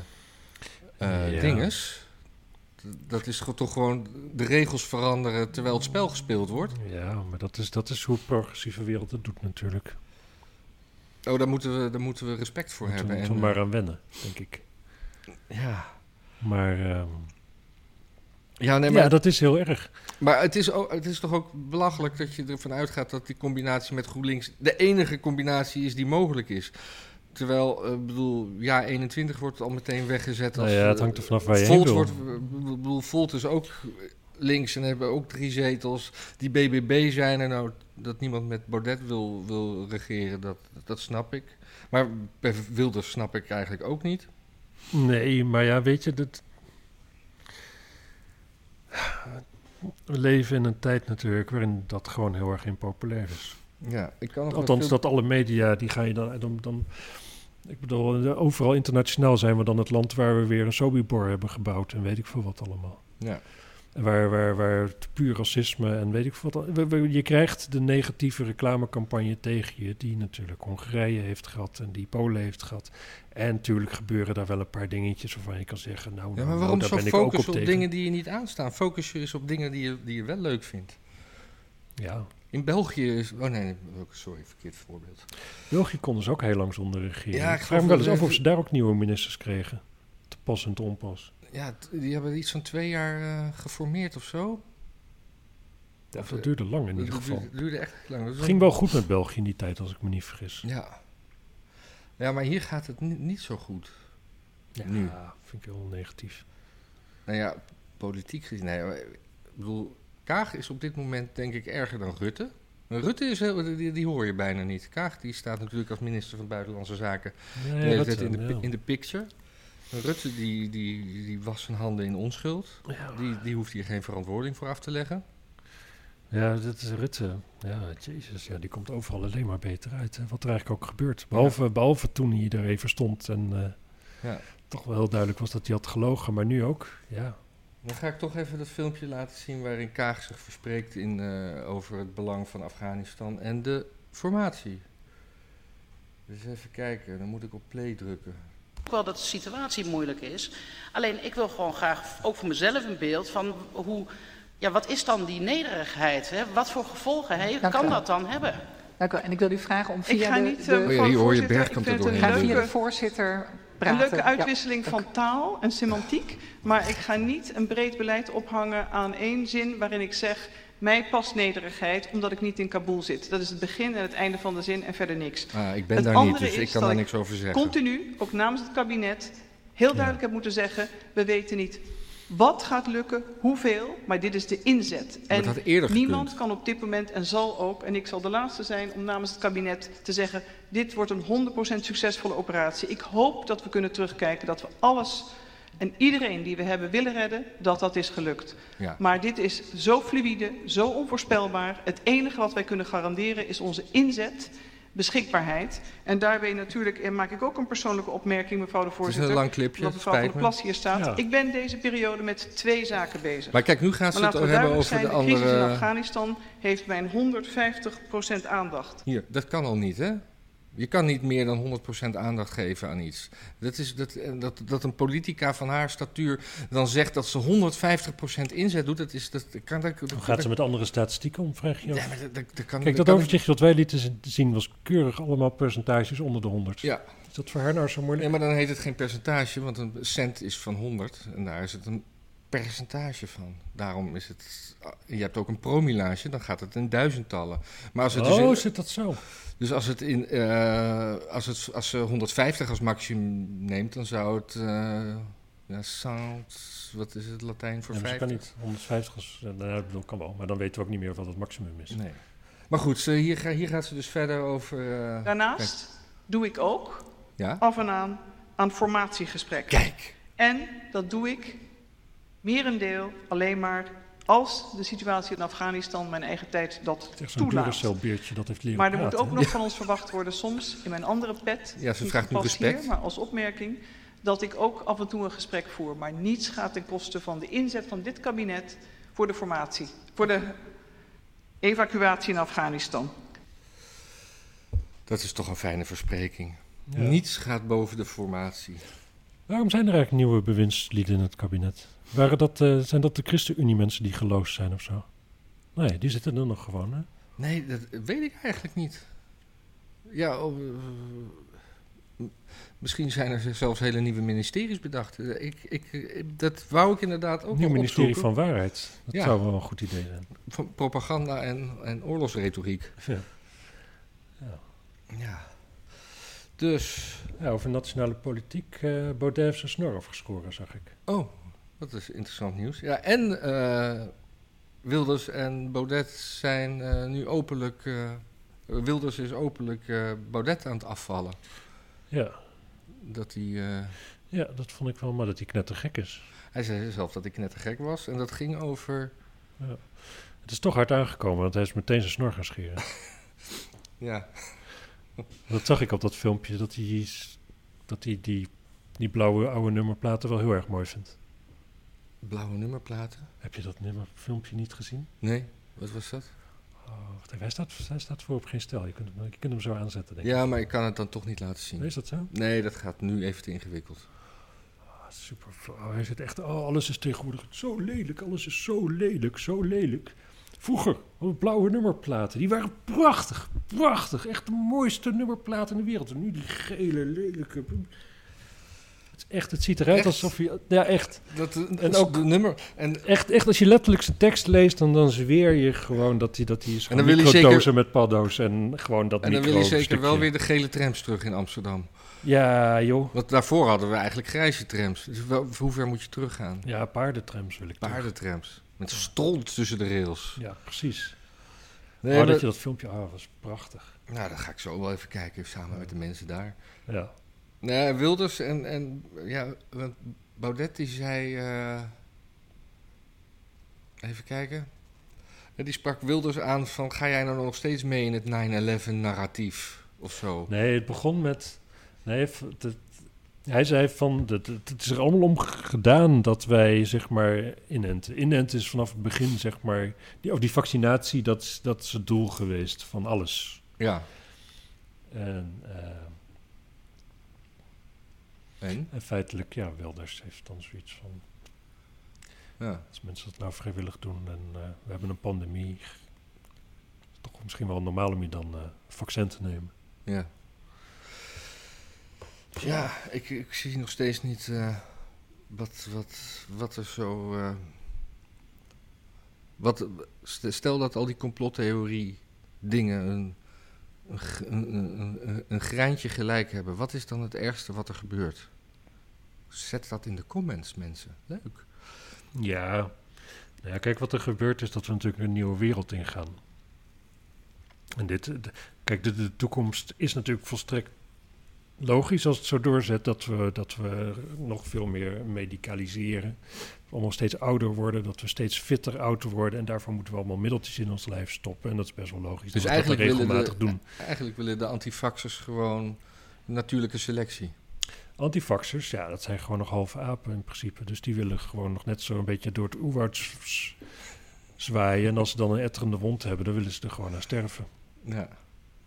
eh Ja. dinges. D- Dat is gewoon- toch gewoon de regels veranderen terwijl het spel gespeeld wordt. Ja, maar dat is, dat is hoe het progressieve wereld het doet natuurlijk. Oh, daar moeten we, daar moeten we respect voor Moeten we hebben. eh, moeten we en, maar aan wennen, denk ik. eh, ja. Maar, ehm, Ja, nee, maar- ja, dat is heel erg. Maar het is, ook, het is toch ook belachelijk dat je ervan uitgaat dat die combinatie met GroenLinks de enige combinatie is die mogelijk is. Terwijl, eh, ik bedoel, ja, 21 wordt al meteen weggezet. Als, eh, Nou ja, het hangt er vanaf waar je Volt heen wil. Wordt, eh, ik bedoel, Volt is ook links en hebben ook drie zetels. Die BBB zijn er nou, dat niemand met Baudet wil, wil regeren, dat, dat snap ik. Maar bij Wilders snap ik eigenlijk ook niet. Nee, maar ja, weet je, dat... We leven in een tijd natuurlijk waarin dat gewoon heel erg impopulair is. Ja, ik kan nog Althans, wat- dat alle media, die ga je dan, dan, dan... Ik bedoel, eh, overal internationaal zijn we dan het land waar we weer een Sobibor hebben gebouwd en weet ik veel wat allemaal. Ja. En Waar, waar, waar het puur racisme en weet ik veel wat. al- we- we- Je krijgt de negatieve reclamecampagne tegen je, die natuurlijk Hongarije heeft gehad en die Polen heeft gehad. En natuurlijk gebeuren daar wel een paar dingetjes waarvan je kan zeggen, nou, Ja, nou, maar nou, waarom daar zo ben ik ook op focus op, tegen. dingen die je niet aanstaan? Focus je eens op dingen die je, die je wel leuk vindt. Ja. In België is... Oh nee, ook- sorry, verkeerd voorbeeld. België kon dus ook heel lang zonder regering. Ja, ik ik geloof vraag me wel eens dat- af of ze daar ook nieuwe ministers kregen. Te pas en te onpas. Ja, t- die hebben iets van twee jaar eh, geformeerd of zo. Of eh, dat duurde lang in Dat ieder duurde- geval. Duurde, echt lang. Dat Het is ging wel goed met België in die tijd, als ik me niet vergis. Ja. Ja, maar hier gaat het ni- niet zo goed. Ja, Nu. vind ik heel negatief. Nou ja, politiek gezien... Nee, maar, ik bedoel, Kaag is op dit moment denk ik erger dan Rutte. Maar Rutte is heel, die, die hoor je bijna niet. Kaag die staat natuurlijk als minister van Buitenlandse Zaken Ja, ja, de hele dat tijd in, de, wel, pi- ja. in de picture. Rutte die, die, die was zijn handen in onschuld. Die, die hoeft hier geen verantwoording voor af te leggen. Ja, dat is Rutte. Ja, jezus. Ja, die komt overal alleen maar beter uit. Hè. Wat er eigenlijk ook gebeurt. Behalve, behalve toen hij er even stond en eh, Ja. toch wel heel duidelijk was dat hij had gelogen. Maar nu ook, ja. Dan ga ik toch even dat filmpje laten zien waarin Kaag zich verspreekt in, eh, over het belang van Afghanistan en de formatie. Dus even kijken, dan moet ik op play drukken. wel dat de situatie moeilijk is. Alleen ik wil gewoon graag ook voor mezelf een beeld van hoe, ja, wat is dan die nederigheid? Hè? Wat voor gevolgen he- Dank u kan wel. dat dan hebben? Dank u wel. En ik wil u vragen om Ik via ga de, niet, de- eh, Oh ja, hier hoor je Bergkamp er doorheen. Ga via leuke- de voorzitter Een praten. leuke Ja. uitwisseling van taal en semantiek. Maar ik ga niet een breed beleid ophangen aan één zin waarin ik zeg... mij past nederigheid omdat ik niet in Kabul zit. Dat is het begin en het einde van de zin en verder niks. Ah, ik ben Het daar niet, andere dus ik is kan dat daar niks over zeggen. continu, ook namens het kabinet, heel duidelijk heb moeten zeggen... we weten niet wat gaat lukken, hoeveel, maar dit is de inzet. Maar En het had eerder niemand gekund. kan op dit moment en zal ook, en ik zal de laatste zijn om namens het kabinet te zeggen... dit wordt een 100% succesvolle operatie. Ik hoop dat we kunnen terugkijken dat we alles en iedereen die we hebben willen redden, dat dat is gelukt. Ja. Maar dit is zo fluïde, zo onvoorspelbaar. Het enige wat wij kunnen garanderen is onze inzet, beschikbaarheid. En daarbij natuurlijk eh, maak ik ook een persoonlijke opmerking, mevrouw de voorzitter. lang clipje, Omdat mevrouw spijt van der me. Plas hier staat. Ja. Ik ben deze periode met twee zaken bezig. Maar kijk, nu gaat ze Maar het laten we hebben duidelijk over zijn, de crisis in andere- Afghanistan heeft mijn 150% aandacht. Hier, dat kan al niet, hè? Je kan niet meer dan 100% aandacht geven aan iets. Dat, is, dat, eh, dat, dat een politica van haar statuur dan zegt dat ze 150% inzet doet, dat is... Dat, kan, dat, dat, Dan gaat ze met andere statistieken om, vraag je Ja, af. maar dat- dat- dat kan- Kijk, dat dat kan overzichtje dat wij lieten z- zien was keurig allemaal percentages onder de 100. Ja. Is dat voor haar nou zo moeilijk? Nee, maar dan heet het geen percentage, want een cent is van 100 en daar is het een percentage van. Daarom is het... Je hebt ook een promilage, dan gaat het in duizendtallen. Maar als het dus Oh, in- zit dat zo? Dus als, het in, eh, als, het, als ze 150 als maximum neemt, dan zou het... eh ja, sound... Wat is het Latijn voor Ja, maar ze 50? kan niet. 150 is, eh, nou, ik bedoel, kan wel. Maar dan weten we ook niet meer wat het maximum is. Nee. Maar goed, ze- hier, ga- hier gaat ze dus verder over... eh, Daarnaast Oh. doe ik ook Ja? af en aan aan formatiegesprekken. Kijk. En dat doe ik merendeel alleen maar als de situatie in Afghanistan mijn eigen tijd dat Zo'n toelaat. Duracell biertje dat heeft leren Maar er moet praten, ook hè? nog van ons verwacht worden, soms in mijn andere pet, Ja, ze niet vraagt nu gepast respect. hier, maar als opmerking, dat ik ook af en toe een gesprek voer. Maar niets gaat ten koste van de inzet van dit kabinet voor de formatie, voor de evacuatie in Afghanistan. Dat is toch een fijne verspreking. Ja. Niets gaat boven de formatie. Waarom zijn er eigenlijk nieuwe bewindslieden in het kabinet? Waren dat, eh, zijn dat de ChristenUnie mensen die geloosd zijn of zo? Nee, die zitten er nog gewoon, hè? Nee, dat weet ik eigenlijk niet. Ja, oh, eh, m- misschien zijn er zelfs hele nieuwe ministeries bedacht. Eh, Ik, ik, eh, dat wou ik inderdaad ook Nieuw wel ministerie opzoeken. van Waarheid. Dat Ja, zou wel een goed idee zijn. van propaganda en, en oorlogsretoriek. Ja. Ja. Dus. Ja, over nationale politiek. eh Baudet heeft zijn snor afgeschoren, zag ik. Oh, dat is interessant nieuws. Ja, en eh, Wilders en Baudet zijn eh, nu openlijk... eh, Wilders is openlijk eh, Baudet aan het afvallen. Ja. Dat hij... eh, Ja, dat vond ik wel, maar dat hij knettergek is. Hij zei zelf dat ik net te gek was. En dat ging over. Ja. Het is toch hard aangekomen, want hij is meteen zijn snor gaan scheren. Ja. dat zag ik op dat filmpje, dat hij, dat hij die, die blauwe oude nummerplaten wel heel erg mooi vindt. Blauwe nummerplaten? Heb je dat nummer, filmpje niet gezien? Nee, wat was dat? Oh, wacht even, hij, staat, hij staat voor op geen stijl. Je kunt, hem- je kunt hem zo aanzetten, denk ik. Ja, maar ik kan het dan toch niet laten zien. Is dat zo? Nee, dat gaat nu even te ingewikkeld. Ah, super flauw. Hij zit echt, oh, alles is tegenwoordig zo lelijk, alles is zo lelijk, zo lelijk. Vroeger, hadden we blauwe nummerplaten, die waren prachtig, prachtig. Echt de mooiste nummerplaten in de wereld. En nu die gele, lelijke... Het, is echt, het ziet eruit Echt? alsof je... Ja, echt. Dat, en ook de nummer. En, Echt, echt, als je letterlijk zijn tekst leest, dan, dan zweer je gewoon dat hij dat die is. En En dan dan wil je microdozen zeker- met paddo's en gewoon dat en dan wil je zeker microstukje. wel weer de gele trams terug in Amsterdam. Ja, joh. Want daarvoor hadden we eigenlijk grijze trams. Dus wel, hoe ver moet je teruggaan? Ja, paardentrams wil ik terug. Paardentrams. Met stront tussen de rails. Ja, precies. Nee, oh, maar- dat je dat filmpje... Ah, was prachtig. Nou, dat ga ik zo wel even kijken samen met de mensen daar. Ja. Nee, Wilders en, en ja, want Baudet die zei. eh, even kijken. Eh, Die sprak Wilders aan van: ga jij nou nog steeds mee in het 9-11 narratief of zo? Nee, het begon met. Nee, v- het- het- hij zei van. Het, het- het is er allemaal om gedaan dat wij, zeg maar, inenten. Inenten is vanaf het begin, zeg maar. Die, of die vaccinatie, dat, is- dat is het doel geweest van alles. Ja. En. eh, En? feitelijk, ja, Wilders heeft dan zoiets van... Ja. Als mensen dat nou vrijwillig doen en eh, we hebben een pandemie... is het toch misschien wel normaal om je dan eh, vaccin te nemen. Ja. Ja, ik, ik zie nog steeds niet eh, wat, wat, wat er zo. eh, wat, st- stel dat al die complottheorie dingen een, een, g- een, een, een- een greintje gelijk hebben. Wat is dan het ergste wat er gebeurt? Zet dat in de comments, mensen. Leuk. Ja. Nou ja, kijk, wat er gebeurt is dat we natuurlijk een nieuwe wereld ingaan. En dit, eh, d- kijk, de, de toekomst is natuurlijk volstrekt logisch als het zo doorzet dat we, dat we nog veel meer medicaliseren. We allemaal steeds ouder worden, dat we steeds fitter oud worden. En daarvoor moeten we allemaal middeltjes in ons lijf stoppen. En dat is best wel logisch. dat Dus we dat eigenlijk willen, regelmatig de, doen. eigenlijk willen de antifaxers gewoon natuurlijke selectie. Antifaxers, ja, dat zijn gewoon nog halve apen in principe. Dus die willen gewoon nog net zo een beetje door het oerwoud z- z- zwaaien. En als ze dan een etterende wond hebben, dan willen ze er gewoon aan sterven. Ja.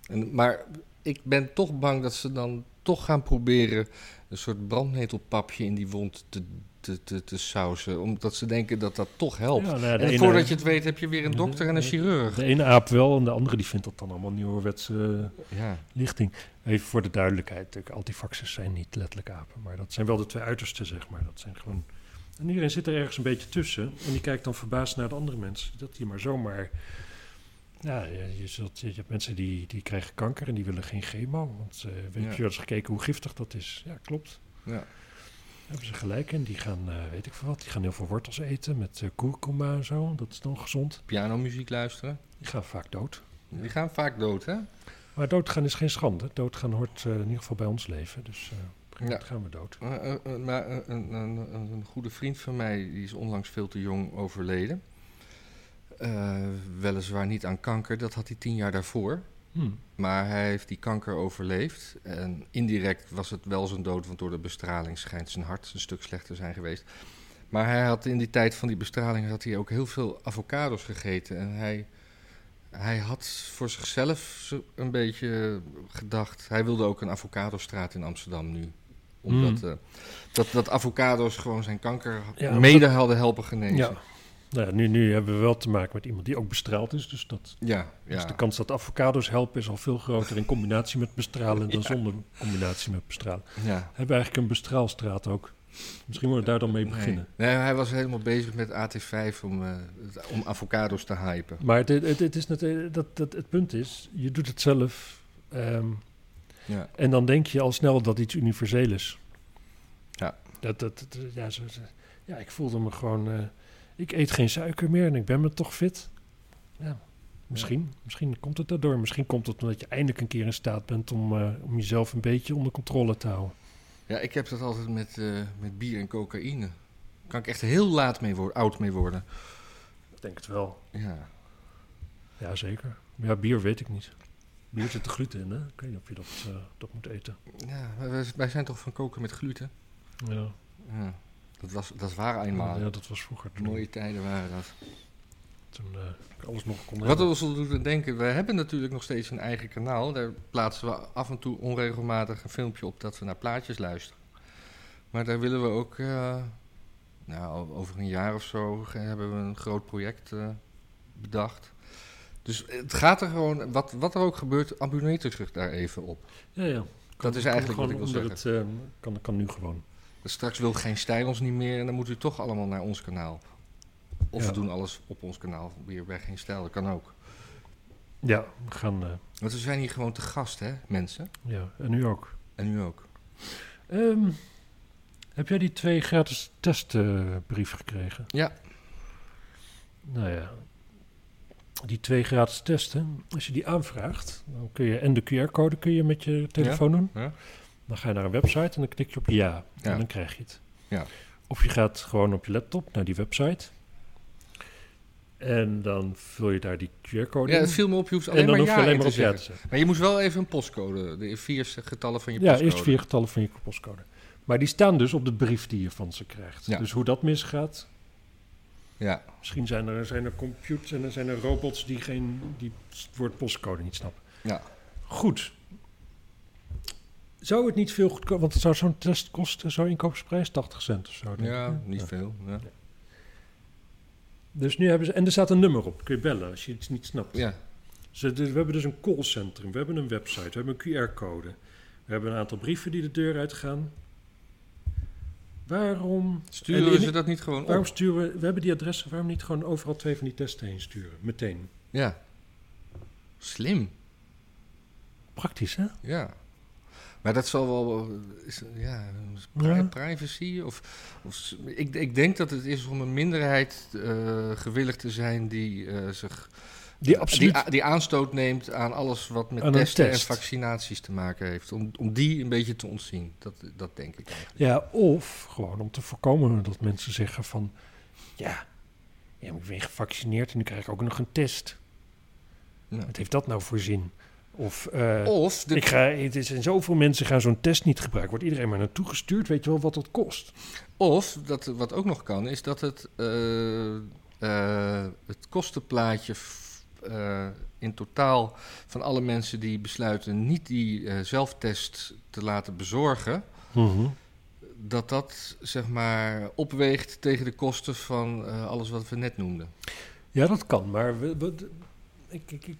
En, maar ik ben toch bang dat ze dan toch gaan proberen een soort brandnetelpapje in die wond te, te, te, te sausen. Omdat ze denken dat dat toch helpt. Ja, nou ja, de en ene- voordat je het weet heb je weer een dokter en een de- chirurg. De ene aap wel en de andere die vindt dat dan allemaal nieuwerwetse eh, Ja. lichting. Even voor de duidelijkheid, natuurlijk, antifaxers zijn niet letterlijk apen. Maar dat zijn wel de twee uitersten, zeg maar. Dat zijn gewoon... En iedereen zit er ergens een beetje tussen. En die kijkt dan verbaasd naar de andere mensen. Dat die maar zomaar... Ja, je, je zult, je hebt mensen die, die krijgen kanker en die willen geen chemo. Want eh weet Ja. je wel eens gekeken hoe giftig dat is? Ja, klopt. Ja. Daar hebben ze gelijk in. Die gaan, eh, weet ik veel wat, die gaan heel veel wortels eten met eh kurkuma en zo. Dat is dan gezond. Pianomuziek luisteren. Die gaan vaak dood. Die gaan vaak dood, hè? Maar doodgaan is geen schande. Doodgaan hoort eh, in ieder geval bij ons leven. Dus eh, op een gegeven moment gaan we dood. Eh, eh, eh, maar eh, een, een, een, een goede vriend van mij die is onlangs veel te jong overleden. Eh, weliswaar niet aan kanker, dat had hij tien jaar daarvoor. Hmm. Maar hij heeft die kanker overleefd. En indirect was het wel zijn dood, want door de bestraling schijnt zijn hart een stuk slechter te zijn geweest. Maar hij had in die tijd van die bestraling had hij ook heel veel avocados gegeten. En hij, hij had voor zichzelf zo- een beetje gedacht. Hij wilde ook een avocadostraat in Amsterdam nu. Omdat Hmm. eh, dat, dat avocados gewoon zijn kanker Ja, mede dat- hadden helpen genezen. Ja. Nou ja, nu, nu hebben we wel te maken met iemand die ook bestraald is. Dus, dat, Ja, ja. dus de kans dat avocados helpen is al veel groter in combinatie met bestralen dan Ja. zonder combinatie met bestralen. Ja. Hebben we eigenlijk een bestraalstraat ook? Misschien moeten we daar dan mee beginnen. Nee, nee, hij was helemaal bezig met AT5 om, eh, het- om avocados te hypen. Maar het, het, het is net, eh, dat, dat, het punt is, je doet het zelf. ehm, Ja. En dan denk je al snel dat iets universeel is. Ja. Dat, dat, dat- ja, zo, zo- ja, ik voelde me gewoon... eh, ik eet geen suiker meer en ik ben me toch fit. Ja, misschien. Misschien komt het daardoor. Misschien komt het omdat je eindelijk een keer in staat bent... om, eh, om jezelf een beetje onder controle te houden. Ja, ik heb dat altijd met, eh, met bier en cocaïne. Kan ik echt heel laat mee worden, oud mee worden. Ik denk het wel. Ja. Ja, zeker. Ja, bier weet ik niet. Bier zit er gluten in, hè? Ik weet niet of je dat, eh, dat moet eten. Ja, maar wij- wij zijn toch van koken met gluten? Ja. Ja. Dat, was, dat waren eenmaal. Ja, dat was vroeger. Toen, Mooie tijden waren dat. toen eh, ik alles nog kon Wat hebben. ons doet aan denken, we hebben natuurlijk nog steeds een eigen kanaal. Daar plaatsen we af en toe onregelmatig een filmpje op dat we naar plaatjes luisteren. Maar daar willen we ook, eh, nou, over een jaar of zo ge- hebben we een groot project eh, bedacht. Dus het gaat er gewoon, wat, wat er ook gebeurt, abonneer zich daar even op. Ja, ja. Kan- dat is kan eigenlijk wat ik gewoon wil zeggen. onder Het, eh, kan, kan nu gewoon. Dus Straks wil geen stijl ons niet meer en dan moet u toch allemaal naar ons kanaal. Of Ja. we doen alles op ons kanaal weer bij geen stijl, dat kan ook. Ja, we gaan. eh, Want we zijn hier gewoon te gast, hè, mensen? ja, en nu ook. En nu ook. Ehm, heb jij die twee gratis testbrief gekregen? Ja. Nou ja. Die twee gratis testen, als je die aanvraagt, dan kun je en de QR-code kun je met je telefoon Ja, doen. ja. Dan ga je naar een website en dan klik je op ja, Ja. en dan krijg je het. Ja. Of je gaat gewoon op je laptop naar die website en dan vul je daar die QR-code Ja, in. het Oh, viel me op, je hoeft En alleen dan maar hoef ja je alleen in maar te op ja te zeggen. Maar je moest wel even een postcode, de vier getallen van je ja, postcode. eerst vier getallen van je postcode. Maar die staan dus op de brief die je van ze krijgt. Ja. Dus hoe dat misgaat. Ja. Misschien zijn er, zijn er computers en er zijn er robots die, geen, die het woord postcode niet snappen. Ja. Goed. Zou het niet veel goedkoper... Want het zou zo'n test kosten, zo'n inkoopsprijs, 80 cent of zo. denk ik, Ja, hè? niet veel. Ja. Dus nu hebben ze... En er staat een nummer op. Kun je bellen als je iets niet snapt. Ja. Ze, dus we hebben dus een callcentrum. We hebben een website. We hebben een QR-code. We hebben een aantal brieven die de deur uitgaan. Waarom... Sturen en- ze dat niet gewoon op? Waarom sturen we... We hebben die adressen. Waarom niet gewoon overal twee van die testen heen sturen? Meteen. Ja. Slim. Praktisch, hè? Ja. Maar dat zal wel, eh, is, ja, pri- Ja. privacy of, of s- ik, ik denk dat het is om een minderheid eh, gewillig te zijn die eh, zich Die eh, absoluut- a- die aanstoot neemt aan alles wat met Aan een testen test. en vaccinaties te maken heeft, om, om die een beetje te ontzien. Dat, dat denk ik. eigenlijk. Ja, of gewoon om te voorkomen dat mensen zeggen van... Ja, ja maar ik ben gevaccineerd en nu krijg ik ook nog een test. Wat heeft dat nou voor zin? Of, eh, Of de- ik ga, het is, en zoveel mensen gaan zo'n test niet gebruiken. Wordt iedereen maar naartoe gestuurd, weet je wel wat dat kost? Of dat, wat ook nog kan, is dat het, eh, eh, het kostenplaatje f- eh, in totaal van alle mensen die besluiten niet die eh, zelftest te laten bezorgen, Mhm. dat dat zeg maar opweegt tegen de kosten van eh, alles wat we net noemden. Ja, dat kan, maar we- we- d- ik, ik, ik,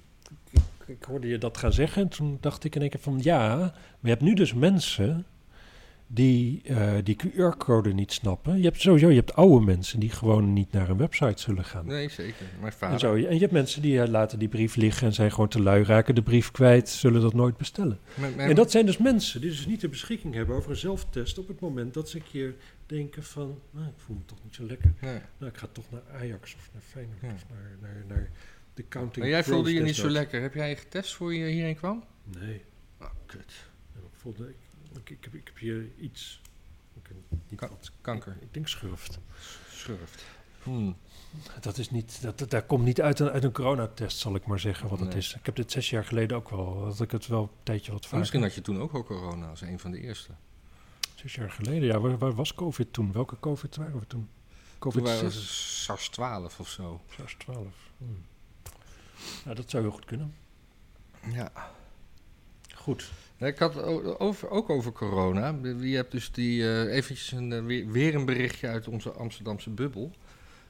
ik, ik hoorde je dat gaan zeggen en toen dacht ik in één keer van ja, maar je hebt nu dus mensen die eh, die QR-code niet snappen. Je hebt sowieso je hebt oude mensen die gewoon niet naar een website zullen gaan. Nee, zeker. Mijn En, vader. zo, en je hebt mensen die eh, laten die brief liggen en zijn gewoon te lui, raken de brief kwijt, zullen dat nooit bestellen. Mijn- mijn- En dat zijn dus mensen die dus niet de beschikking hebben over een zelftest op het moment dat ze een keer denken van, nou, ik voel me toch niet zo lekker. Nee. Nou, ik ga toch naar Ajax of naar Feyenoord Ja. of naar, naar, naar de counting. Maar jij Crows voelde je niet zo desnoods. lekker. Heb jij getest voor je hierheen kwam? Nee. Ah, kut. Ja, maar Ik, voelde, ik, ik, ik heb, ik heb hier iets. Ik weet niet wat. Kanker. Ik, ik denk schurft. Schurft. Hmm, Dat is niet, dat, dat, daar komt niet uit een, uit een coronatest, zal ik maar zeggen, wat het Nee. Oh, is. Ik heb dit zes jaar geleden ook wel, dat ik het wel een tijdje wat vaker. Misschien had je toen ook al corona als een van de eerste. Zes jaar geleden, ja. Waar, waar was COVID toen? Welke COVID waren we toen? Toen COVID waren 6? ze SARS 12 of zo. SARS 12. Hmm. Nou, dat zou heel goed kunnen. Ja. Goed. Ik had o- over, ook over corona. Je hebt dus die, eh, eventjes een, eh, weer, weer een berichtje uit onze Amsterdamse bubbel.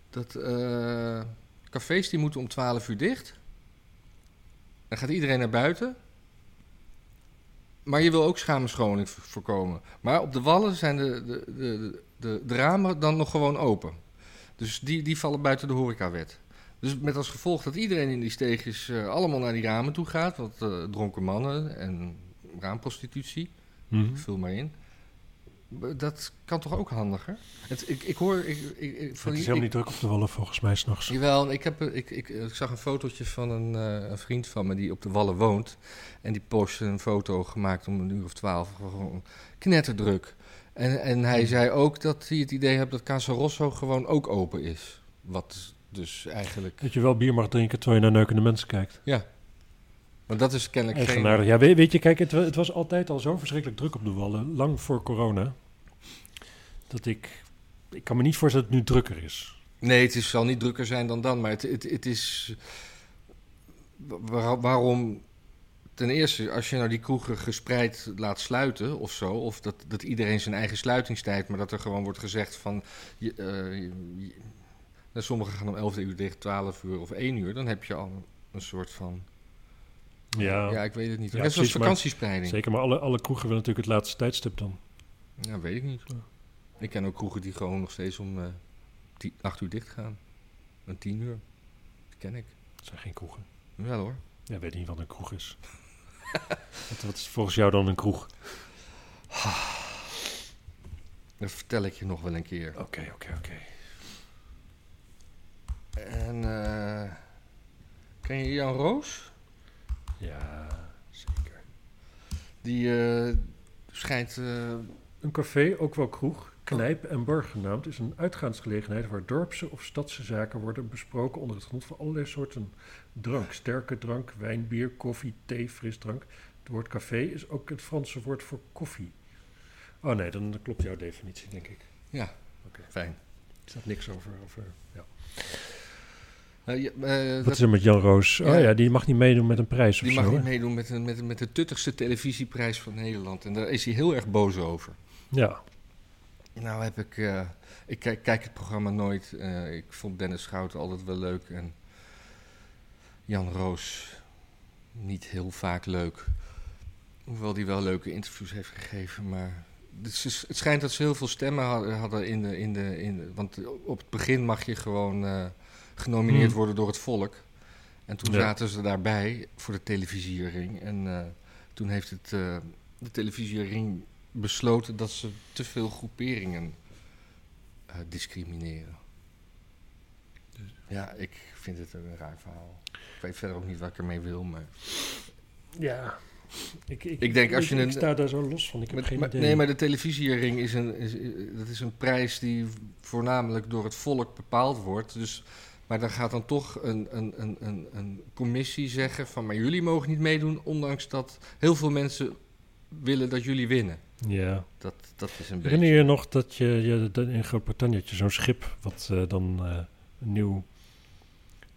Dat eh, cafés die moeten om 12 uur dicht. Dan gaat iedereen naar buiten. Maar je wil ook schaamscholing vo- voorkomen. Maar op de wallen zijn de, de, de, de, de ramen dan nog gewoon open. Dus die, die vallen buiten de horecawet. Dus met als gevolg dat iedereen in die steegjes eh, allemaal naar die ramen toe gaat. Want eh, dronken mannen en raamprostitutie, Mhm. vul maar in. B- Dat kan toch ook handiger? Het, ik, ik hoor... Ik, ik, ik- van het is die- helemaal niet ik- druk op de wallen volgens mij s'nachts. Jawel, ik, heb, eh, ik, ik, ik zag een fotootje van een, eh, een vriend van me die op de Wallen woont. En die postte een foto gemaakt om een uur of twaalf. Gewoon knetterdruk. En, en Mhm. hij zei ook dat hij het idee heeft dat Casa Rosso gewoon ook open is. Wat dus eigenlijk... Dat je wel bier mag drinken terwijl je naar neukende mensen kijkt. Ja. Want dat is kennelijk geen... Eigenaardig. Ja, weet, weet je, kijk, het, wa- het was altijd al zo verschrikkelijk druk op de wallen, lang voor corona, dat ik, ik kan me niet voorstellen dat het nu drukker is. Nee, het is, zal niet drukker zijn dan dan. Maar het, het, het is... waar- waarom... Ten eerste, als je nou die kroegen gespreid laat sluiten of zo... of dat, dat iedereen zijn eigen sluitingstijd... maar dat er gewoon wordt gezegd van... Je, eh, je- nou, sommigen gaan om 11 uur dicht, 12 uur of 1 uur... dan heb je al een soort van... Ja, ik weet het niet. Ja, Net zoals precies, maar- vakantiespreiding. zeker, maar alle, alle kroegen willen natuurlijk het laatste tijdstip dan. Ja, weet ik niet. Ik ken ook kroegen die gewoon nog steeds om eh, die, acht uur dicht gaan. En tien uur. Dat ken ik. Dat zijn geen kroegen. Wel hoor. Ja, weet niet wat een kroeg is. wat, wat is volgens jou dan een kroeg? Dat vertel ik je nog wel een keer. Oké, oké, oké. En eh, ken je Jan Roos? Ja, zeker. Die eh, schijnt... eh, Een café, ook wel kroeg, knijp en bar genaamd, is een uitgaansgelegenheid waar dorpse of stadse zaken worden besproken onder het genot van allerlei soorten drank. Sterke drank, wijn, bier, koffie, thee, frisdrank. Het woord café is ook het Franse woord voor koffie. Oh nee, dan klopt jouw definitie, denk ik. ja, fijn. Er staat niks over. over ja. Nou, ja, eh, Wat dat- is er met Jan Roos? Ja. Oh ja, die mag niet meedoen met een prijs of Die zo. mag hè? niet meedoen met, een- met, een- met de tuttigste televisieprijs van Nederland. En daar is hij heel erg boos over. Ja. Nou heb ik... eh, ik kijk, kijk het programma nooit. Eh, ik vond Dennis Schouten altijd wel leuk. En Jan Roos niet heel vaak leuk. Hoewel die wel leuke interviews heeft gegeven. Maar dus het, is- het schijnt dat ze heel veel stemmen ha- hadden in de... In de, in de- want op het begin mag je gewoon eh, genomineerd Hmm. worden door het volk. En toen Ja. zaten ze daarbij voor de televisiering. En eh, toen heeft het, eh, de televisiering besloten dat ze te veel groeperingen eh, discrimineren. Ja, ik vind het een raar verhaal. Ik weet verder ook niet wat ik ermee wil, maar... Ja. Ik, Ik denk als je ik een- sta daar zo los van. Ik heb Maar- geen maar- idee. Nee, maar de televisiering is een, is, dat is een prijs die voornamelijk door het volk bepaald wordt. Dus, maar dan gaat dan toch een, een, een, een, een commissie zeggen van... maar jullie mogen niet meedoen, ondanks dat heel veel mensen willen dat jullie winnen. Ja. Dat, dat is een beetje... Herinner je je nog dat je, je dat in Groot-Brittannië had je zo'n schip wat eh, dan eh, een nieuw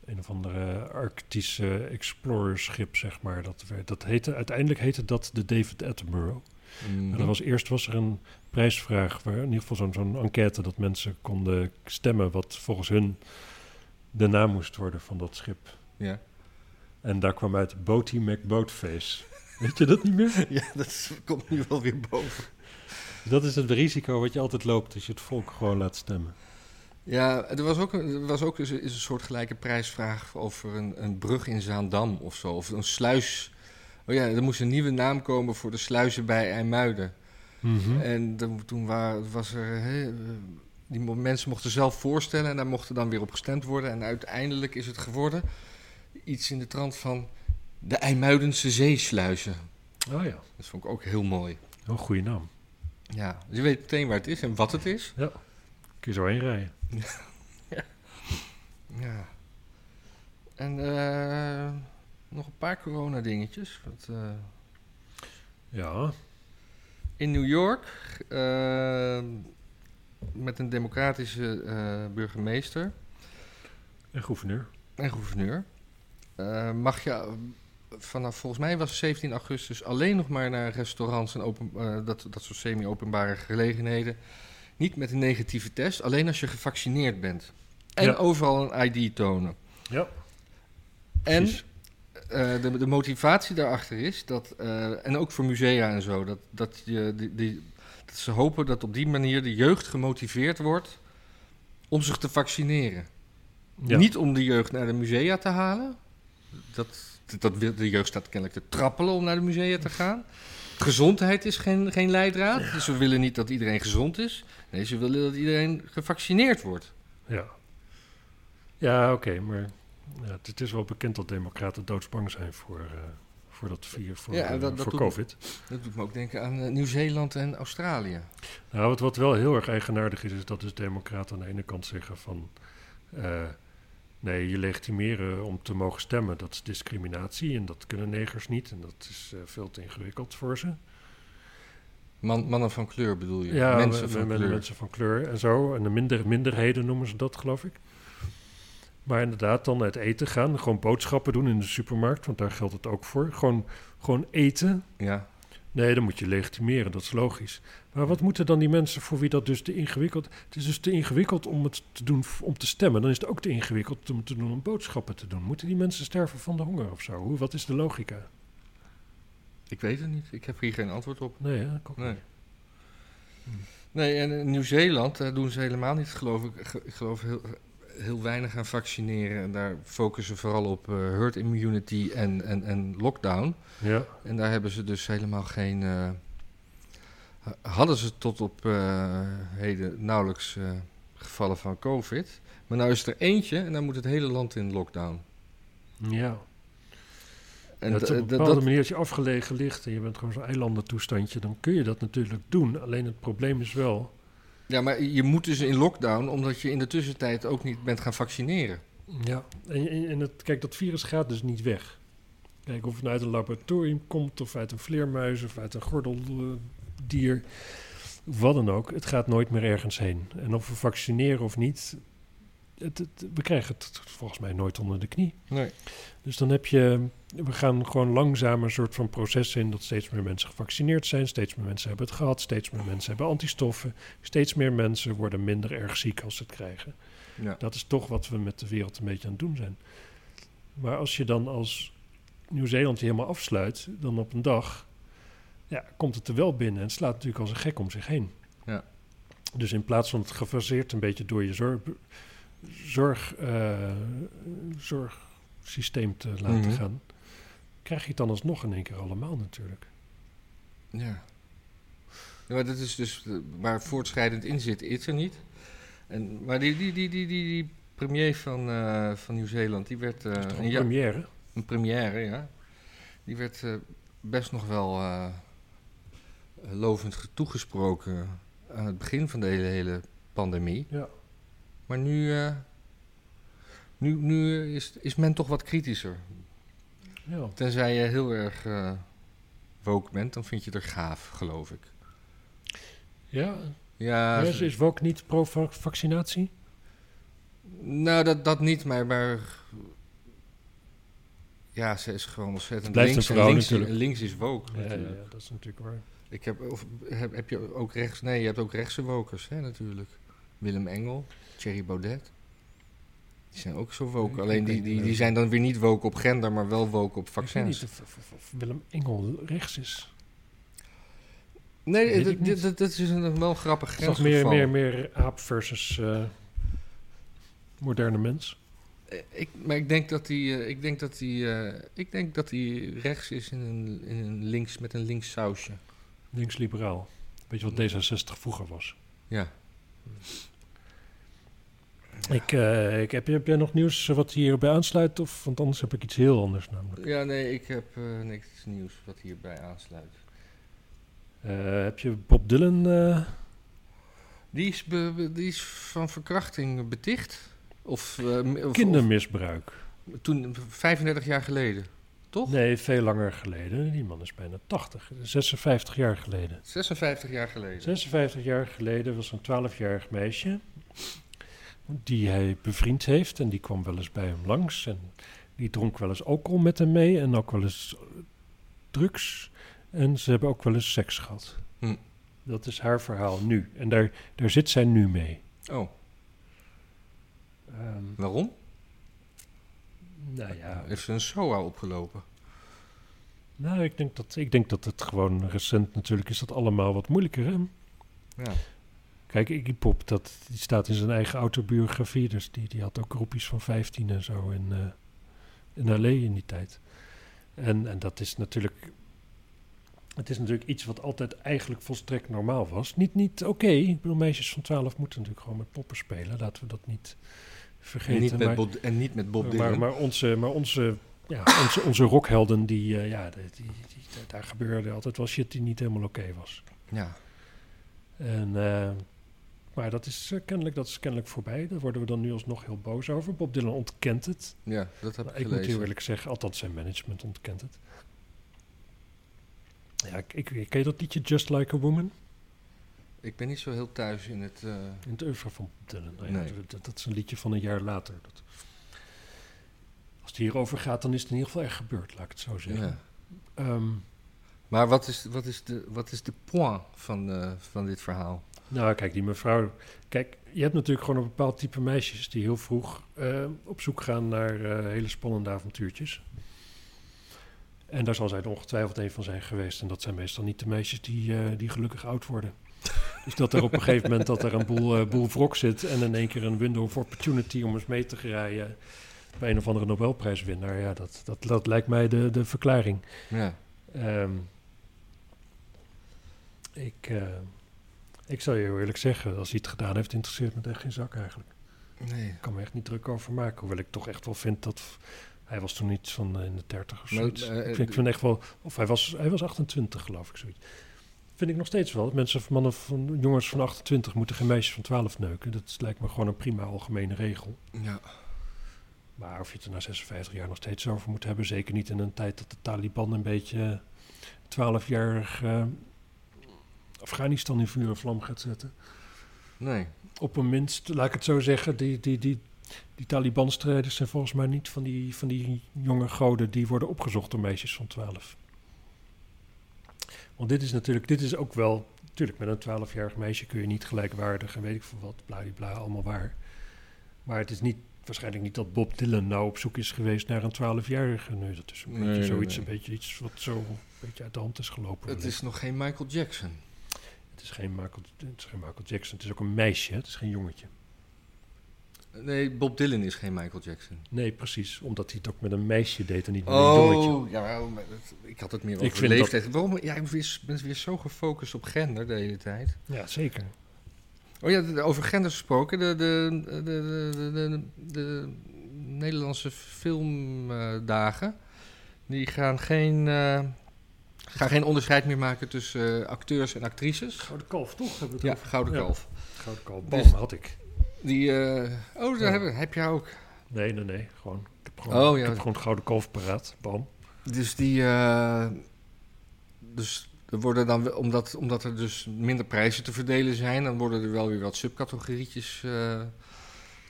een of andere arctische explorerschip zeg maar dat werd- dat heette uiteindelijk heette dat de David Attenborough. Mhm. En er was eerst was er een prijsvraag waar in ieder geval zo'n zo'n enquête dat mensen konden stemmen wat volgens hun de naam moest worden van dat schip. Ja. En daar kwam uit Boaty McBoatface. Weet je dat niet meer? Ja, dat komt nu wel weer boven. Dat is het risico wat je altijd loopt als je het volk gewoon laat stemmen. Ja, er was ook, een- er was ook eens een, is een soort gelijke prijsvraag over een, een brug in Zaandam of zo. Of een sluis. Oh ja, er moest een nieuwe naam komen voor de sluizen bij IJmuiden. Mhm. En dan- toen wa- was er... hè, die mo- mensen mochten zelf voorstellen en daar mochten dan weer op gestemd worden. En uiteindelijk is het geworden iets in de trant van de IJmuidense zeesluizen. Oh ja. Dat vond ik ook heel mooi. Wel Een goede naam. Ja, dus je weet meteen waar het is en wat het is. Ja. Kun je zo heen rijden. Ja. En eh, nog een paar corona-dingetjes. Want, eh, Ja. in New York, eh, met een democratische eh, burgemeester En gouverneur. en gouverneur, eh, mag je eh, vanaf, volgens mij was het 17 augustus, alleen nog maar naar restaurants en open, eh, dat, dat soort semi-openbare gelegenheden. Niet met een negatieve test, alleen als je gevaccineerd bent. En Ja. overal een ID tonen. Ja. En Precies. eh, de, de motivatie daarachter is dat, eh, en ook voor musea en zo, dat, dat, je, die, die- dat ze hopen dat op die manier de jeugd gemotiveerd wordt om zich te vaccineren. Ja. Niet om de jeugd naar de musea te halen. Dat, dat, dat wil, de jeugd staat kennelijk te trappelen om naar de musea te gaan. Gezondheid is geen, geen leidraad. Dus we willen niet dat iedereen gezond is. Nee, ze willen dat iedereen gevaccineerd wordt. Ja. Ja, oké, maar ja, het, het is wel bekend dat democraten doodsbang zijn voor, eh, voor dat vier, voor, Ja, eh, dat- dat voor doet- COVID. Dat doet me ook denken aan eh, Nieuw-Zeeland en Australië. Nou, wat, wat wel heel erg eigenaardig is, is dat dus democraten aan de ene kant zeggen van... eh, nee, je legitimeren om te mogen stemmen, dat is discriminatie en dat kunnen negers niet. En dat is eh, veel te ingewikkeld voor ze. Man, mannen van kleur bedoel je? Ja, mensen we- van we- kleur. mensen van kleur en zo. En de minder, minderheden noemen ze dat, geloof ik. Maar inderdaad, dan uit eten gaan. Gewoon boodschappen doen in de supermarkt, want daar geldt het ook voor. Gewoon, gewoon eten. Ja. Nee, dan moet je legitimeren, dat is logisch. Maar wat moeten dan die mensen voor wie dat dus te ingewikkeld... Het is dus te ingewikkeld om het te doen, f- om te stemmen. Dan is het ook te ingewikkeld om te doen om boodschappen te doen. Moeten die mensen sterven van de honger of zo? Hoe, wat is de logica? Ik weet het niet. Ik heb hier geen antwoord op. Nee, hè? Ik ook nee. Nee, en in Nieuw-Zeeland daar doen ze helemaal niet, geloof ik. ge- Ik geloof heel, heel weinig aan vaccineren. En daar focussen ze vooral op eh, herd immunity en, en, en lockdown. Ja. En daar hebben ze dus helemaal geen. eh, ha- hadden ze tot op eh, heden nauwelijks eh, gevallen van COVID. Maar nou is er eentje en dan moet het hele land in lockdown. Ja. En En op d- een d- bepaalde dat- manier, als je afgelegen ligt en je bent gewoon zo'n eilandentoestandje, dan kun je dat natuurlijk doen. Alleen het probleem is wel, Ja, maar je moet dus in lockdown omdat je in de tussentijd ook niet bent gaan vaccineren. ja, en, en, en het, kijk, dat virus gaat dus niet weg. Kijk, of het nou uit een laboratorium komt, of uit een vleermuis, of uit een gordeldier, wat dan ook, het gaat nooit meer ergens heen. En of we vaccineren of niet, het, het- we krijgen het volgens mij nooit onder de knie. Nee. Dus dan heb je, we gaan gewoon langzaam een soort van proces in dat steeds meer mensen gevaccineerd zijn, steeds meer mensen hebben het gehad, steeds meer mensen hebben antistoffen, steeds meer mensen worden minder erg ziek als ze het krijgen. Ja. Dat is toch wat we met de wereld een beetje aan het doen zijn. Maar als je dan als Nieuw-Zeeland die helemaal afsluit, dan op een dag ja, komt het er wel binnen en slaat natuurlijk als een gek om zich heen. Ja. Dus in plaats van het gefaseerd een beetje door je zorg, zorg, eh, zorgsysteem te laten Mhm. gaan, krijg je het dan alsnog in één keer allemaal natuurlijk. Ja. Ja, maar dat is dus eh, waar voortschrijdend in zit, is er niet. En, maar die, die, die, die, die, die premier van, eh, van Nieuw-Zeeland, die werd... eh, toch een ja- première? Een première, ja. Die werd eh, best nog wel eh, lovend ge- toegesproken aan het begin van de hele, hele pandemie. Ja. Maar nu, eh, nu, nu eh, is, is men toch wat kritischer. Ja. Tenzij je heel erg eh woke bent, dan vind je het er gaaf, geloof ik. Ja. dus Ja, is, is ook niet pro-vaccinatie? Nou, dat, dat niet, maar, maar... Ja, ze is gewoon Het ontzettend blijft links. een en vrouw links, natuurlijk. en links is woke. Ja, ja, natuurlijk. ja, dat is natuurlijk waar. Ik heb, of, heb, heb je ook rechts... Nee, je hebt ook rechtse wokers, hè, natuurlijk. Willem Engel, Thierry Baudet. Die zijn ook zo woke. Alleen die, die, die zijn dan weer niet woke op gender, maar wel woke op Ik weet vaccins. niet of, of- of Willem Engel rechts is. Nee, Weet dat, ik niet. dit- dat, dat is een, wel een grappig Het is toch meer, grensgeval. meer, meer aap versus eh, moderne mens. Eh, Ik, maar ik denk dat hij, eh, ik denk dat hij, eh, ik denk dat hij rechts is in een, in een links met een links sausje. Links-liberaal. Weet je wat D66 vroeger was? Ja. Ik, eh, ik, heb, heb jij nog nieuws wat hierbij aansluit? Of, want anders heb ik iets heel anders namelijk. Ja, nee, ik heb eh, niks nieuws wat hierbij aansluit. Eh, heb je Bob Dylan? eh, Die is, be- be- die is van verkrachting beticht. Of, eh, m- of- Kindermisbruik. of- toen, 35 jaar geleden. Toch? Nee, veel langer geleden. Die man is bijna 80, 56 jaar geleden. 56 jaar geleden. 56 jaar geleden was een 12-jarig meisje die hij bevriend heeft en die kwam wel eens bij hem langs en die dronk wel eens alcohol met hem mee en ook wel eens eh, drugs en ze hebben ook wel eens seks gehad. Hm. Dat is haar verhaal nu en daar, daar zit zij nu mee. Oh. Ehm, Waarom? Nou ja. Heeft ze een SOA opgelopen? Nou, ik denk, dat, ik denk dat het gewoon recent natuurlijk is dat allemaal wat moeilijker. Hè? Ja. Kijk, Iggy Pop, dat, die staat in zijn eigen autobiografie. Dus die, die had ook groepjes van 15 en zo in, eh in L.A. in die tijd. En, en dat is natuurlijk... Het is natuurlijk iets wat altijd eigenlijk volstrekt normaal was. Niet, niet oké. Ik bedoel, meisjes van 12 moeten natuurlijk gewoon met poppen spelen. Laten we dat niet vergeten. Niet met maar- Bob- en niet met Bob maar- Dylan. Maar, maar onze, maar onze, ja, onze, onze rockhelden, die, eh, ja, die, die, die- daar gebeurde altijd wel shit die niet helemaal oké was. Ja. En, eh, maar dat is, eh, kennelijk, dat is kennelijk voorbij. Daar worden we dan nu alsnog heel boos over. Bob Dylan ontkent het. Ja, dat heb ik ik moet heel gelezen. eerlijk zeggen, althans zijn management ontkent het. Ja, ik, ik, ken je dat liedje Just Like a Woman? Ik ben niet zo heel thuis in het... eh, In het oeuvre van Bob Dylan. Nou ja, Nee. dat, dat is een liedje van een jaar later. Dat, als het hierover gaat, dan is het in ieder geval echt gebeurd, laat ik het zo zeggen. Ja. Ehm, Maar wat is, wat is, de, wat is de point van, eh, van dit verhaal? Nou, kijk, die mevrouw. Kijk, je hebt natuurlijk gewoon een bepaald type meisjes die heel vroeg eh, op zoek gaan naar eh, hele spannende avontuurtjes. En daar zal zij er ongetwijfeld een van zijn geweest. En dat zijn meestal niet de meisjes die, eh, die gelukkig oud worden. Dus dat er op een gegeven moment dat er een boel, eh, boel wrok zit en in één keer een window of opportunity om eens mee te rijden bij een of andere Nobelprijswinnaar. Ja, dat, dat, dat lijkt mij de, de verklaring. Ja. Ehm, ik, eh, ik zou je heel eerlijk zeggen, als hij het gedaan heeft, interesseert me het echt geen zak eigenlijk. Nee. Ik kan me echt niet druk over maken, hoewel ik toch echt wel vind dat... Hij was toen iets van eh, in de 30 of Maar, zoiets. eh, ik, vind, ik vind echt wel... Of hij was, hij was 28, geloof ik, zoiets. Vind ik nog steeds wel. dat Mensen, van mannen van jongens van 28 moeten geen meisjes van 12 neuken. Dat is- lijkt me gewoon een prima algemene regel. Ja. Maar of je het er na 56 jaar nog steeds over moet hebben, zeker niet in een tijd dat de Taliban een beetje 12-jarig eh, Afghanistan in vuur en vlam gaat zetten. Nee. Op een minst, laat ik het zo zeggen, die, die, die Die Taliban-strijders zijn volgens mij niet van die, van die jonge goden die worden opgezocht door meisjes van 12. Want dit is natuurlijk, dit is ook wel, natuurlijk met een 12-jarig meisje kun je niet gelijkwaardig en weet ik veel wat, bladibla, allemaal waar. Maar het is niet, waarschijnlijk niet dat Bob Dylan nou op zoek is geweest naar een 12-jarige. Nee, dat is een Nee, beetje nee, zoiets, nee. een beetje iets wat zo een beetje uit de hand is gelopen. Het wellicht. is nog geen Michael Jackson. Het is geen Michael, het is geen Michael Jackson. Het is ook een meisje, hè? het is geen jongetje. Nee, Bob Dylan is geen Michael Jackson. Nee, precies. Omdat hij het ook met een meisje deed en niet met een jongetje. Oh, ja, maar dat- ik had het meer Ik over vind leeftijd. Waarom? Jij bent bent weer zo gefocust op gender de hele tijd. Ja, zeker. Oh ja, de- over gender gesproken. De, de, de, de, de, de- de Nederlandse filmdagen. Die gaan geen, eh, gaan geen onderscheid meer maken tussen eh, acteurs en actrices. Gouden kalf, toch? Hebben we ja, het over? Gouden Ja. Kalf. Gouden Kalf, Dus Balm had ik. Die, eh, oh, daar Ja. heb, heb je ook. Nee, nee, nee. Gewoon, ik heb gewoon, Oh, ja. ik heb gewoon het gouden kalf paraat. Bam. Dus die. eh, dus er worden dan, wel- omdat, omdat er dus minder prijzen te verdelen zijn, dan worden er wel weer wat subcategorietjes eh,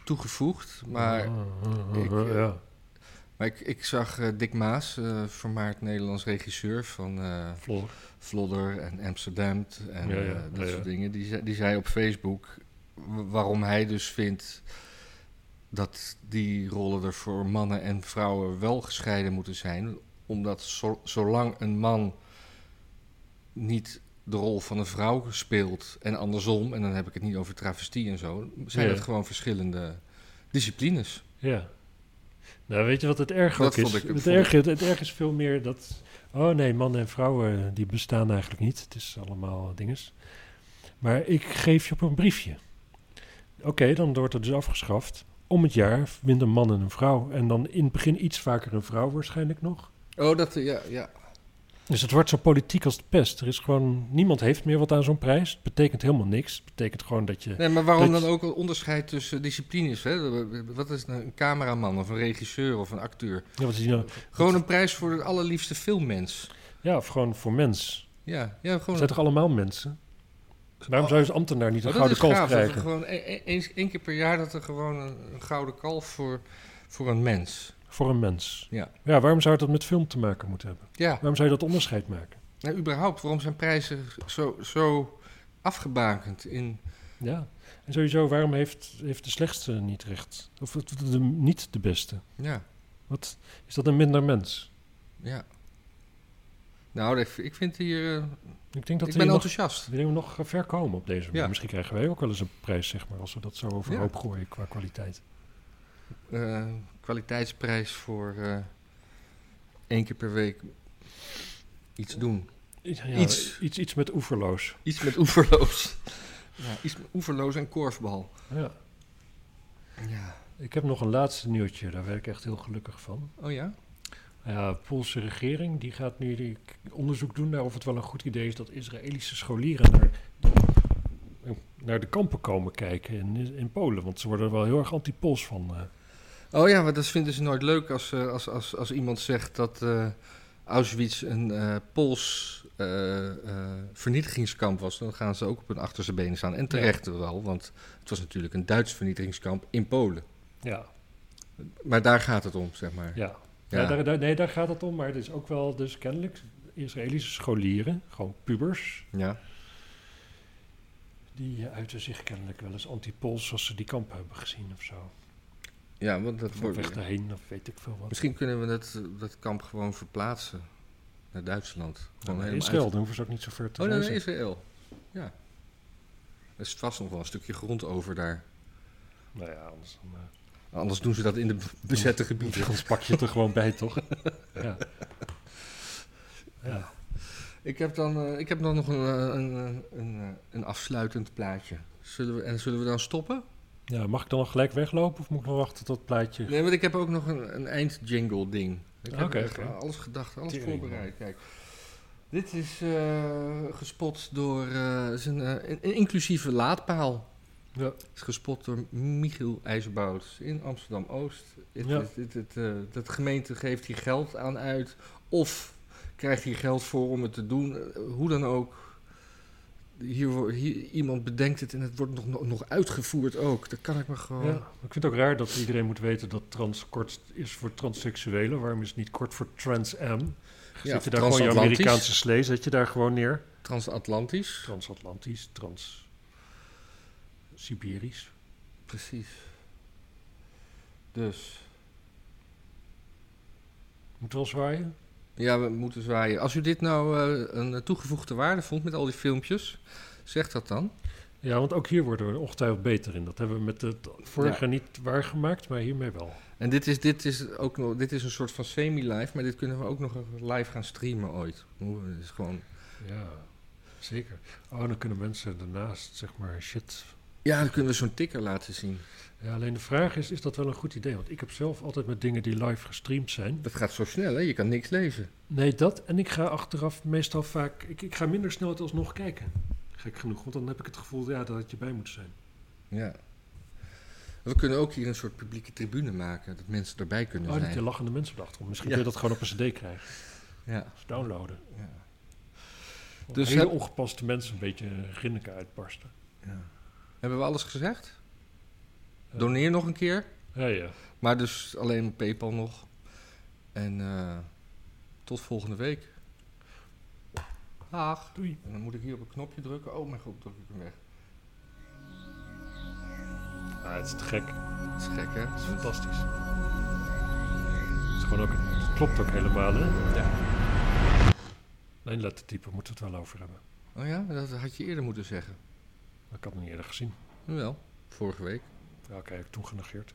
toegevoegd. Maar, Ah, ik, eh, ja. maar ik, ik zag eh, Dick Maas, eh vermaard Nederlands regisseur van eh, Vlodder. en Amsterdam en Ja, ja, eh, dat ja, ja. soort dingen. Die, zei- die zei op Facebook wa- waarom hij dus vindt dat die rollen er voor mannen en vrouwen wel gescheiden moeten zijn. Omdat zo- zolang een man niet de rol van een vrouw speelt en andersom, en dan heb ik het niet over travestie en zo, zijn Ja. dat gewoon verschillende disciplines. Ja. Nou, weet je wat het erg Dat ook is? vond ik- het, vond erg, het, erg is veel meer dat... Oh nee, mannen en vrouwen, die bestaan eigenlijk niet. Het is allemaal dinges. Maar ik geef je op een briefje. Oké, dan wordt het dus afgeschaft. Om het jaar minder man en een vrouw. En dan in het begin iets vaker een vrouw waarschijnlijk nog. Oh, dat, ja, ja. Dus het wordt zo politiek als de pest. Er is gewoon, niemand heeft meer wat aan zo'n prijs. Het betekent helemaal niks. Het betekent gewoon dat je... Nee, maar waarom dat dan je- ook een onderscheid tussen disciplines? Hè? Wat is nou een cameraman of een regisseur of een acteur? Ja, wat is die nou? Gewoon een prijs voor de allerliefste filmmens. Ja, of gewoon voor mens. Ja, ja, gewoon- Zijn toch allemaal mensen? Waarom zou je als ambtenaar niet een Maar gouden kalf Oh. dat er krijgen? gewoon e- e- eens één keer per jaar dat er gewoon een, een gouden kalf voor, voor een mens. Voor een mens. Ja. ja, waarom zou het dat met film te maken moeten hebben? Ja. Waarom zou je dat onderscheid maken? Nou, überhaupt, waarom zijn prijzen zo, zo afgebakend in... Ja. En sowieso, waarom heeft, heeft de slechtste niet recht? Of het- het- de- niet de beste? Ja. Wat, is dat een minder mens? Ja. Nou, ik, ik vind hier... eh, Ik denk dat ik we ben hier enthousiast. Nog, we hier nog eh, ver komen op deze manier. Ja. Misschien krijgen wij ook wel eens een prijs, zeg maar, als we dat zo overhoop gooien qua kwaliteit. eh, kwaliteitsprijs voor eh, één keer per week iets doen. Iets, Iets. iets. Iets, met oeverloos. Iets met oeverloos. Ja, iets met oeverloos en korfbal. Ja. Ja. Ik heb nog een laatste nieuwtje, daar werd ik echt heel gelukkig van. Oh ja? Ja, de Poolse regering die gaat nu die- onderzoek doen naar of het wel een goed idee is dat Israëlische scholieren naar, naar de kampen komen kijken in, in Polen. Want ze worden er wel heel erg anti-Pools van. eh. Oh ja, maar dat vinden ze nooit leuk als, eh, als, als, als iemand zegt dat eh, Auschwitz een eh, Pools eh, eh, vernietigingskamp was. Dan gaan ze ook op hun achterste benen staan. En terecht wel, want het was natuurlijk een Duits vernietigingskamp in Polen. Ja. Maar daar gaat het om, zeg maar. Ja. Ja. daar, daar- nee, daar gaat het om, maar het is ook wel dus kennelijk Israëlische scholieren, gewoon pubers. Ja. Die eh, uiten zich kennelijk wel eens anti-Pools als ze die kampen hebben gezien of zo. Ja, want dat Of op wordt- weg daarheen, of weet ik veel wat. Misschien kunnen we dat, dat kamp gewoon verplaatsen naar Duitsland. Ja, Gewoon maar helemaal Israël, uit- dan Nou, hoeven ze ook niet zo ver te Oh, nee, nee, reizen. Israël. Ja. Er is vast nog wel een stukje grond over daar. Nou ja, anders dan, eh, Anders doen ze dat in de b- bezette gebieden. Anders pak je het er gewoon bij, toch? Ja. Ja. Ik heb dan, eh, ik heb dan nog een, eh, een, eh, een, eh, een afsluitend plaatje. Zullen we, en zullen we dan stoppen? ja, mag ik dan al gelijk weglopen of moet ik nog wachten tot het plaatje... Nee, want ik heb ook nog een, een eindjingle ding. Ik heb Oké, echt oké. alles gedacht, alles Tering, voorbereid. Kijk. Dit is eh, gespot door eh, is een, eh, een- een inclusieve laadpaal. Ja. Is gespot door Michiel IJzerbouts in Amsterdam-Oost. Het- Ja. het- het- het, eh, Dat gemeente geeft hier geld aan uit. Of krijgt hier geld voor om het te doen. Eh, Hoe dan ook. Hier, wo- hier, iemand bedenkt het en het wordt nog- nog, nog uitgevoerd ook. Dat kan ik me gewoon... Ja, ik vind het ook raar dat iedereen moet weten dat trans kort is voor transseksuelen. Waarom is het niet kort voor trans M? Zet je daar gewoon je transatlantisch. Amerikaanse slee, zet je daar gewoon neer? Transatlantisch. Transatlantisch, trans... Siberisch. Precies. Dus. Moet wel zwaaien? Ja, we moeten zwaaien. Als u dit nou eh, een toegevoegde waarde vond met al die filmpjes, zeg dat dan. Ja, want ook hier worden we ongetwijfeld beter in. Dat hebben we met het vorige niet waargemaakt, maar hiermee wel. En dit is, dit is ook nog, dit is een soort van semi-live, maar dit kunnen we ook nog live gaan streamen ooit. Hoe- Het is gewoon. Ja, zeker. Oh, dan kunnen mensen daarnaast, zeg maar, shit. Ja, dan kunnen we zo'n ticker laten zien. Ja, alleen de vraag is, is dat wel een goed idee? Want ik heb zelf altijd met dingen die live gestreamd zijn. Dat gaat zo snel, hè? Je kan niks lezen. Nee, dat. En ik ga achteraf meestal vaak... Ik, ik ga minder snel het alsnog kijken. Gek genoeg, want dan heb ik het gevoel ja, dat je bij moet zijn. Ja. We kunnen ook hier een soort publieke tribune maken, dat mensen erbij kunnen Oh, dat zijn. je lachende mensen op de achtergrond. Misschien Ja. kun je dat gewoon op een cd krijgen. Ja. Of downloaden. Ja. Dus Dus hele heb- ongepaste mensen een beetje rinniken uitbarsten. Ja. Hebben we alles gezegd? Doneer nog een keer. Ja, ja. Maar dus alleen op PayPal nog. En eh, tot volgende week. Dag. Doei. En dan moet ik hier op een knopje drukken. Oh mijn god, druk ik hem weg. Ah, het is te gek. Het is gek, hè? Het is fantastisch. Het, is gewoon ook, het klopt ook helemaal, hè? Ja. Alleen lettertype moeten we het wel over hebben. Oh ja, dat had je eerder moeten zeggen. Maar ik had het niet eerder gezien. Wel, vorige week. Ja, oké, heb ik toen genegeerd.